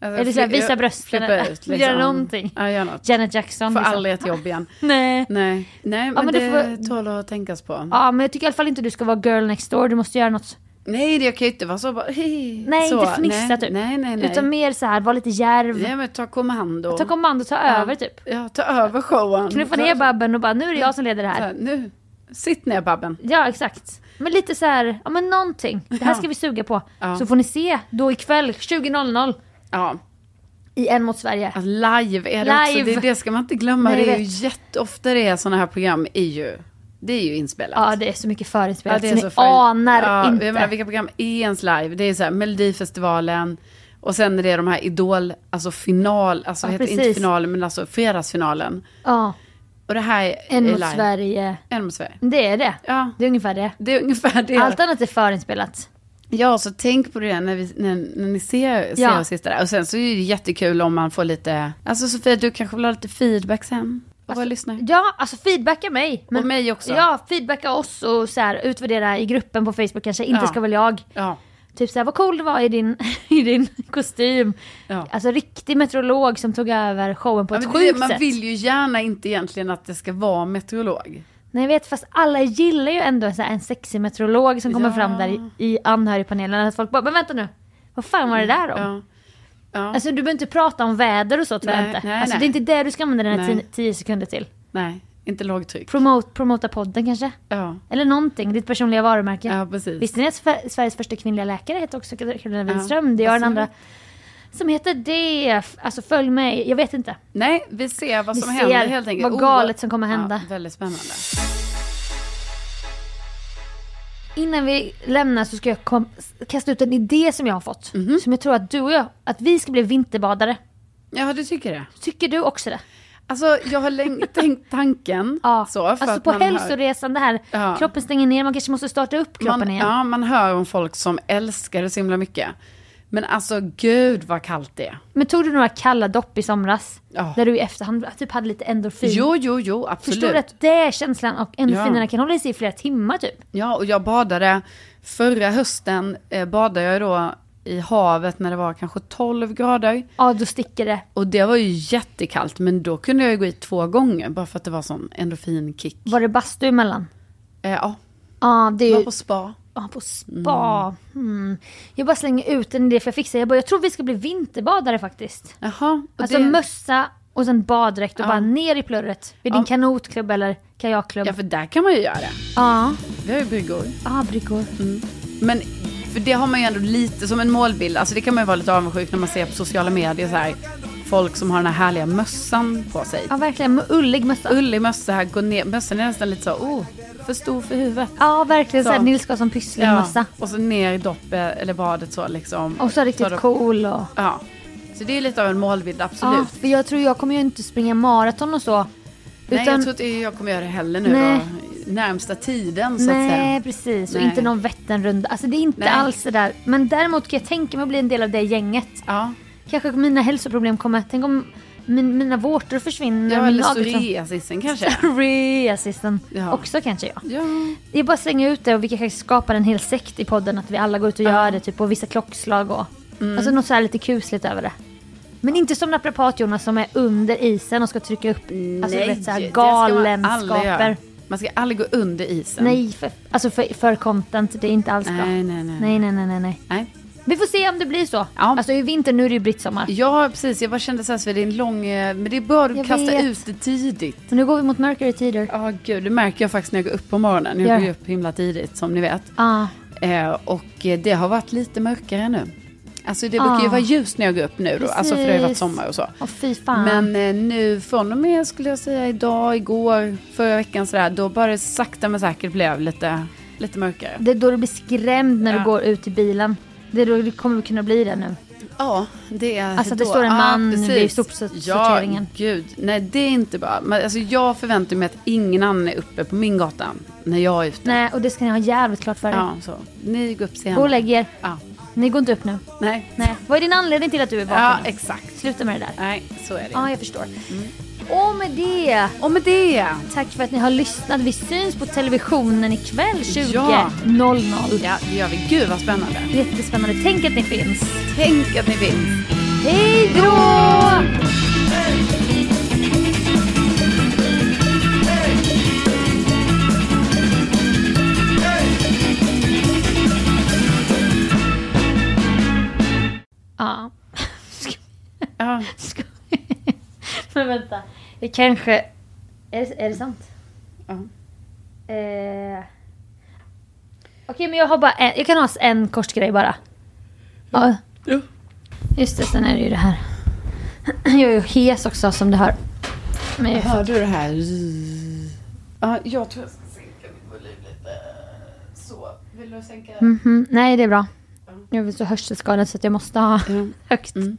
[SPEAKER 1] Alltså,
[SPEAKER 2] Eller så här,
[SPEAKER 1] fli-
[SPEAKER 2] visa
[SPEAKER 1] jag
[SPEAKER 2] brösten
[SPEAKER 1] flippar
[SPEAKER 2] eller-
[SPEAKER 1] ut, liksom.
[SPEAKER 2] göra någonting.
[SPEAKER 1] Ja, gör något.
[SPEAKER 2] Janet Jackson.
[SPEAKER 1] Får
[SPEAKER 2] liksom.
[SPEAKER 1] aldrig ett jobb igen.
[SPEAKER 2] Nej.
[SPEAKER 1] Nej, Nej men,
[SPEAKER 2] men det
[SPEAKER 1] det,
[SPEAKER 2] får-
[SPEAKER 1] tål att tänkas på.
[SPEAKER 2] Ja, men jag tycker i alla fall inte du ska vara girl next door. Du måste göra något.
[SPEAKER 1] Nej, det jag kan ju inte vara så bara... hej,
[SPEAKER 2] Nej,
[SPEAKER 1] så.
[SPEAKER 2] inte fnissa
[SPEAKER 1] nej,
[SPEAKER 2] typ.
[SPEAKER 1] Nej, nej, nej.
[SPEAKER 2] Utan mer så här, var lite djärv.
[SPEAKER 1] nej men ta kommando.
[SPEAKER 2] Ta kommando, ta över typ.
[SPEAKER 1] Ja, ta över showen.
[SPEAKER 2] Knuffa
[SPEAKER 1] Ta-
[SPEAKER 2] ner Babben och bara, nu är det jag som leder det
[SPEAKER 1] så
[SPEAKER 2] här.
[SPEAKER 1] här, Nu, sitt ner Babben.
[SPEAKER 2] Ja, exakt. Men lite så här, ja men någonting. Det här
[SPEAKER 1] Ja.
[SPEAKER 2] ska vi suga på.
[SPEAKER 1] Ja.
[SPEAKER 2] Så får ni se då ikväll 20.00
[SPEAKER 1] Ja,
[SPEAKER 2] i En mot Sverige.
[SPEAKER 1] Att live är det också. Det,
[SPEAKER 2] Live.
[SPEAKER 1] det ska man inte glömma.
[SPEAKER 2] Nej,
[SPEAKER 1] det är
[SPEAKER 2] jag
[SPEAKER 1] ju jätteofta det är sådana här program är ju, det är ju inspelat.
[SPEAKER 2] Ja, det är så mycket
[SPEAKER 1] Ja,
[SPEAKER 2] förinspelat
[SPEAKER 1] det är
[SPEAKER 2] så ni
[SPEAKER 1] farligt.
[SPEAKER 2] anar
[SPEAKER 1] Ja,
[SPEAKER 2] inte.
[SPEAKER 1] Jag menar, vilka program är ens live? Det är så här Melodifestivalen. Och sen är det de här Idol, alltså final, alltså
[SPEAKER 2] Ja,
[SPEAKER 1] heter det
[SPEAKER 2] precis.
[SPEAKER 1] inte finalen men alltså fredagsfinalen.
[SPEAKER 2] ja,
[SPEAKER 1] Och det här är
[SPEAKER 2] En
[SPEAKER 1] är
[SPEAKER 2] mot
[SPEAKER 1] live.
[SPEAKER 2] Sverige.
[SPEAKER 1] En mot Sverige.
[SPEAKER 2] Det är det.
[SPEAKER 1] Ja,
[SPEAKER 2] Det är ungefär det.
[SPEAKER 1] det är ungefär det.
[SPEAKER 2] Allt annat är förinspelat.
[SPEAKER 1] Ja, så tänk på det när, vi, när, när ni ser, ser
[SPEAKER 2] Ja.
[SPEAKER 1] oss sitta där. Och sen så är det jättekul om man får lite, alltså Sofia du kanske vill ha lite feedback sen. Av våra lyssnare.
[SPEAKER 2] Ja, alltså feedbacka mig.
[SPEAKER 1] Och mig också.
[SPEAKER 2] Ja, feedbacka oss och så här, utvärdera i gruppen på Facebook kanske. Inte
[SPEAKER 1] Ja.
[SPEAKER 2] ska väl jag.
[SPEAKER 1] Ja.
[SPEAKER 2] Typ så här, vad cool det var i din, i din kostym.
[SPEAKER 1] Ja.
[SPEAKER 2] Alltså riktig meteorolog som tog över showen på
[SPEAKER 1] Ja,
[SPEAKER 2] ett
[SPEAKER 1] men det,
[SPEAKER 2] sjukt
[SPEAKER 1] man
[SPEAKER 2] sätt.
[SPEAKER 1] vill ju gärna inte egentligen att det ska vara meteorolog.
[SPEAKER 2] Nej jag vet fast alla gillar ju ändå så här, en sexig meteorolog som kommer
[SPEAKER 1] Ja. Mm,
[SPEAKER 2] fram där i, i anhörigpanelen. Att folk bara, men vänta nu. Vad fan var det där om?
[SPEAKER 1] Ja. Ja.
[SPEAKER 2] Alltså du behöver inte prata om väder och så tror jag
[SPEAKER 1] Nej,
[SPEAKER 2] inte.
[SPEAKER 1] nej,
[SPEAKER 2] alltså
[SPEAKER 1] nej.
[SPEAKER 2] det är inte det du ska använda den här
[SPEAKER 1] Nej.
[SPEAKER 2] tio, tio sekunder till.
[SPEAKER 1] Nej, inte lågtryck.
[SPEAKER 2] Promote, promota podden kanske?
[SPEAKER 1] Ja,
[SPEAKER 2] Eller någonting, ditt personliga varumärke.
[SPEAKER 1] ja precis.
[SPEAKER 2] Visste ni att Sver- Sveriges första kvinnliga läkare heter också Karolina Widerström? Det är
[SPEAKER 1] Vad
[SPEAKER 2] den
[SPEAKER 1] ser
[SPEAKER 2] andra som heter det. Alltså följ mig, jag vet inte.
[SPEAKER 1] Nej, vi ser vad
[SPEAKER 2] Vi
[SPEAKER 1] som
[SPEAKER 2] ser
[SPEAKER 1] händer helt enkelt. Oh,
[SPEAKER 2] vad galet som kommer hända.
[SPEAKER 1] Ja, väldigt spännande.
[SPEAKER 2] Innan vi lämnar så ska jag kom, kasta ut en idé som jag har fått.
[SPEAKER 1] Mhm.
[SPEAKER 2] Som jag tror att du och jag, att vi ska bli vinterbadare.
[SPEAKER 1] Ja, du tycker det?
[SPEAKER 2] Tycker du också det?
[SPEAKER 1] Alltså, jag har länge tänkt tanken.
[SPEAKER 2] Ja.
[SPEAKER 1] så, för
[SPEAKER 2] alltså
[SPEAKER 1] att
[SPEAKER 2] på
[SPEAKER 1] man hör-
[SPEAKER 2] hälsoresan det här,
[SPEAKER 1] Ja.
[SPEAKER 2] kroppen stänger ner, man kanske måste starta upp kroppen
[SPEAKER 1] man,
[SPEAKER 2] igen.
[SPEAKER 1] Ja, man hör om folk som älskar det så himla mycket. Men alltså, gud vad kallt det är.
[SPEAKER 2] Men tog du några kalla dopp i somras?
[SPEAKER 1] Ja.
[SPEAKER 2] Där du i efterhand typ hade lite endorfin?
[SPEAKER 1] Jo, jo, jo, absolut.
[SPEAKER 2] Förstår du att det är känslan och endorfinerna
[SPEAKER 1] Ja.
[SPEAKER 2] kan hålla i sig i flera timmar typ?
[SPEAKER 1] Ja, och jag badade förra hösten, eh, badade jag då i havet när det var kanske 12 grader.
[SPEAKER 2] Ja, då sticker det.
[SPEAKER 1] Och det var ju jättekallt, men då kunde jag ju gå i två gånger bara för att det var sån endorfinkick.
[SPEAKER 2] Var det bastu emellan?
[SPEAKER 1] Eh, ja,
[SPEAKER 2] Ja, det är
[SPEAKER 1] jag var
[SPEAKER 2] ju...
[SPEAKER 1] på spa.
[SPEAKER 2] Ja, på spa. Mm. Jag bara slänger ut en idé för jag fick säga, jag, bara, jag tror vi ska bli vinterbadare faktiskt.
[SPEAKER 1] Jaha. och
[SPEAKER 2] Alltså
[SPEAKER 1] det-
[SPEAKER 2] mössa och sen baddräkt och
[SPEAKER 1] Ja.
[SPEAKER 2] bara ner i plurret. Vid din
[SPEAKER 1] Ja.
[SPEAKER 2] kanotklubb eller kajakklubb.
[SPEAKER 1] Ja, för där kan man ju göra det.
[SPEAKER 2] Ja,
[SPEAKER 1] Vi har ju bryggor.
[SPEAKER 2] ja bryggor.
[SPEAKER 1] Mm. Men för det har man ju ändå lite som en målbild. Alltså det kan man ju vara lite avundsjuk när man ser på sociala medier så här. Folk som har den här härliga mössan på sig.
[SPEAKER 2] Ja, verkligen. Med Ullig mössa.
[SPEAKER 1] Ullig mössa här, går ner. Mössan är nästan lite så, oh, för stor för huvudet.
[SPEAKER 2] Ja, verkligen så.
[SPEAKER 1] Så.
[SPEAKER 2] här Nils Karlsson Pyssling-mössa.
[SPEAKER 1] Och så ner i doppet eller badet så liksom.
[SPEAKER 2] Och så
[SPEAKER 1] Ta
[SPEAKER 2] riktigt
[SPEAKER 1] dopp-
[SPEAKER 2] cool och...
[SPEAKER 1] Ja. Så det är ju lite av en målbild, absolut.
[SPEAKER 2] Ja, för jag tror jag kommer ju inte springa maraton och så.
[SPEAKER 1] Nej, jag tror inte jag kommer göra det heller nu
[SPEAKER 2] Nej.
[SPEAKER 1] då. Närmsta tiden så att
[SPEAKER 2] Nej,
[SPEAKER 1] säga.
[SPEAKER 2] precis. Och
[SPEAKER 1] Nej.
[SPEAKER 2] inte någon Vätternrunda. Alltså det är inte
[SPEAKER 1] Nej.
[SPEAKER 2] alls det där. Men däremot kan jag tänka mig att bli en del av det gänget.
[SPEAKER 1] Ja.
[SPEAKER 2] Kanske mina hälsoproblem kommer... Tänk om min, mina vårtor försvinner.
[SPEAKER 1] Ja,
[SPEAKER 2] min
[SPEAKER 1] eller
[SPEAKER 2] nageltråd-
[SPEAKER 1] psoriasisen kanske.
[SPEAKER 2] Psoriasisen
[SPEAKER 1] Ja.
[SPEAKER 2] också kanske jag.
[SPEAKER 1] Ja.
[SPEAKER 2] Jag bara slänger ut det och vi kanske skapar en hel sekt i podden att vi alla går ut och gör det typ på vissa klockslag och
[SPEAKER 1] Mm.
[SPEAKER 2] alltså något så här lite kusligt över det. Men inte som naprapat Jonas som är under isen och ska trycka upp alltså, du vet, så här
[SPEAKER 1] det ska man aldrig
[SPEAKER 2] galenskaper.
[SPEAKER 1] göra. Man ska aldrig gå under isen.
[SPEAKER 2] Nej, för, alltså för, för content, det är inte alls bra.
[SPEAKER 1] Nej, nej, nej.
[SPEAKER 2] nej, nej, nej, nej, nej.
[SPEAKER 1] Nej.
[SPEAKER 2] Vi får se om det blir så.
[SPEAKER 1] Ja.
[SPEAKER 2] Alltså i vinter, nu är det ju brittsommar.
[SPEAKER 1] Ja, precis. Jag bara kände så här, Sofia, det är en lång... eh, Men det är bra att du
[SPEAKER 2] Jag
[SPEAKER 1] kastar
[SPEAKER 2] vet.
[SPEAKER 1] ut det tidigt.
[SPEAKER 2] Men nu går vi mot mörkare tider. Ja.
[SPEAKER 1] Ja, gud, det märker jag faktiskt när jag går upp på morgonen.
[SPEAKER 2] Gör
[SPEAKER 1] Jag går
[SPEAKER 2] det.
[SPEAKER 1] ju upp himla tidigt, som ni vet.
[SPEAKER 2] Ah,
[SPEAKER 1] Eh, och eh, det har varit lite mörkare nu. Alltså det
[SPEAKER 2] Ah.
[SPEAKER 1] brukar ju vara ljust när jag går upp nu då. Alltså för det har ju varit
[SPEAKER 2] Precis.
[SPEAKER 1] sommar och så.
[SPEAKER 2] och fy fan.
[SPEAKER 1] Men eh, nu från och med skulle jag säga idag, igår, förra veckan sådär. Då bara det sakta men säkert blev lite, lite mörkare.
[SPEAKER 2] Det är då du blir skrämd när du
[SPEAKER 1] Ja.
[SPEAKER 2] går ut i bilen. Det är då du kommer kunna bli det nu.
[SPEAKER 1] Ja, det är
[SPEAKER 2] Alltså, det
[SPEAKER 1] då.
[SPEAKER 2] står en
[SPEAKER 1] Ja,
[SPEAKER 2] man vid
[SPEAKER 1] precis.
[SPEAKER 2] sopsorteringen.
[SPEAKER 1] Ja, gud. Nej, det är inte bra. Men, alltså, jag förväntar mig att ingen annan är uppe på min gata när jag är ute.
[SPEAKER 2] Nej, och det ska ni ha jävligt klart för er.
[SPEAKER 1] Ja, så. Ni går upp
[SPEAKER 2] Gå och
[SPEAKER 1] senare.
[SPEAKER 2] lägg er.
[SPEAKER 1] Ja.
[SPEAKER 2] Ni går inte upp nu.
[SPEAKER 1] Nej.
[SPEAKER 2] Nej. Vad är din anledning till att du
[SPEAKER 1] Ja,
[SPEAKER 2] är vaken?
[SPEAKER 1] exakt. Mm.
[SPEAKER 2] Sluta med det där.
[SPEAKER 1] Nej, så är det.
[SPEAKER 2] Ja, jag förstår. Och med det,
[SPEAKER 1] Och med det.
[SPEAKER 2] tack för att ni har lyssnat. Vi syns på televisionen ikväll 20.00.
[SPEAKER 1] Ja. Ja, det gör vi. Gud vad spännande.
[SPEAKER 2] Jättespännande. Tänk att ni finns.
[SPEAKER 1] Tänk att ni vinner.
[SPEAKER 2] Hej då! Ja.
[SPEAKER 1] Ja.
[SPEAKER 2] Ska- Men vänta. Det kanske... Är det, är det sant?
[SPEAKER 1] Ja.
[SPEAKER 2] Eh... Okej, men jag har bara en, Jag kan ha en kort grej bara. Ja.
[SPEAKER 1] Ja.
[SPEAKER 2] Just det, sen är det ju det här. Jag är ju hes också som du hör. Men jag,
[SPEAKER 1] Hör du det här? Ja, jag tror jag ska sänka min volym lite. Så. Vill du sänka?
[SPEAKER 2] Mhm, Nej, det är bra. Jag är så hörselskadad så att jag måste ha högt.
[SPEAKER 1] Mm.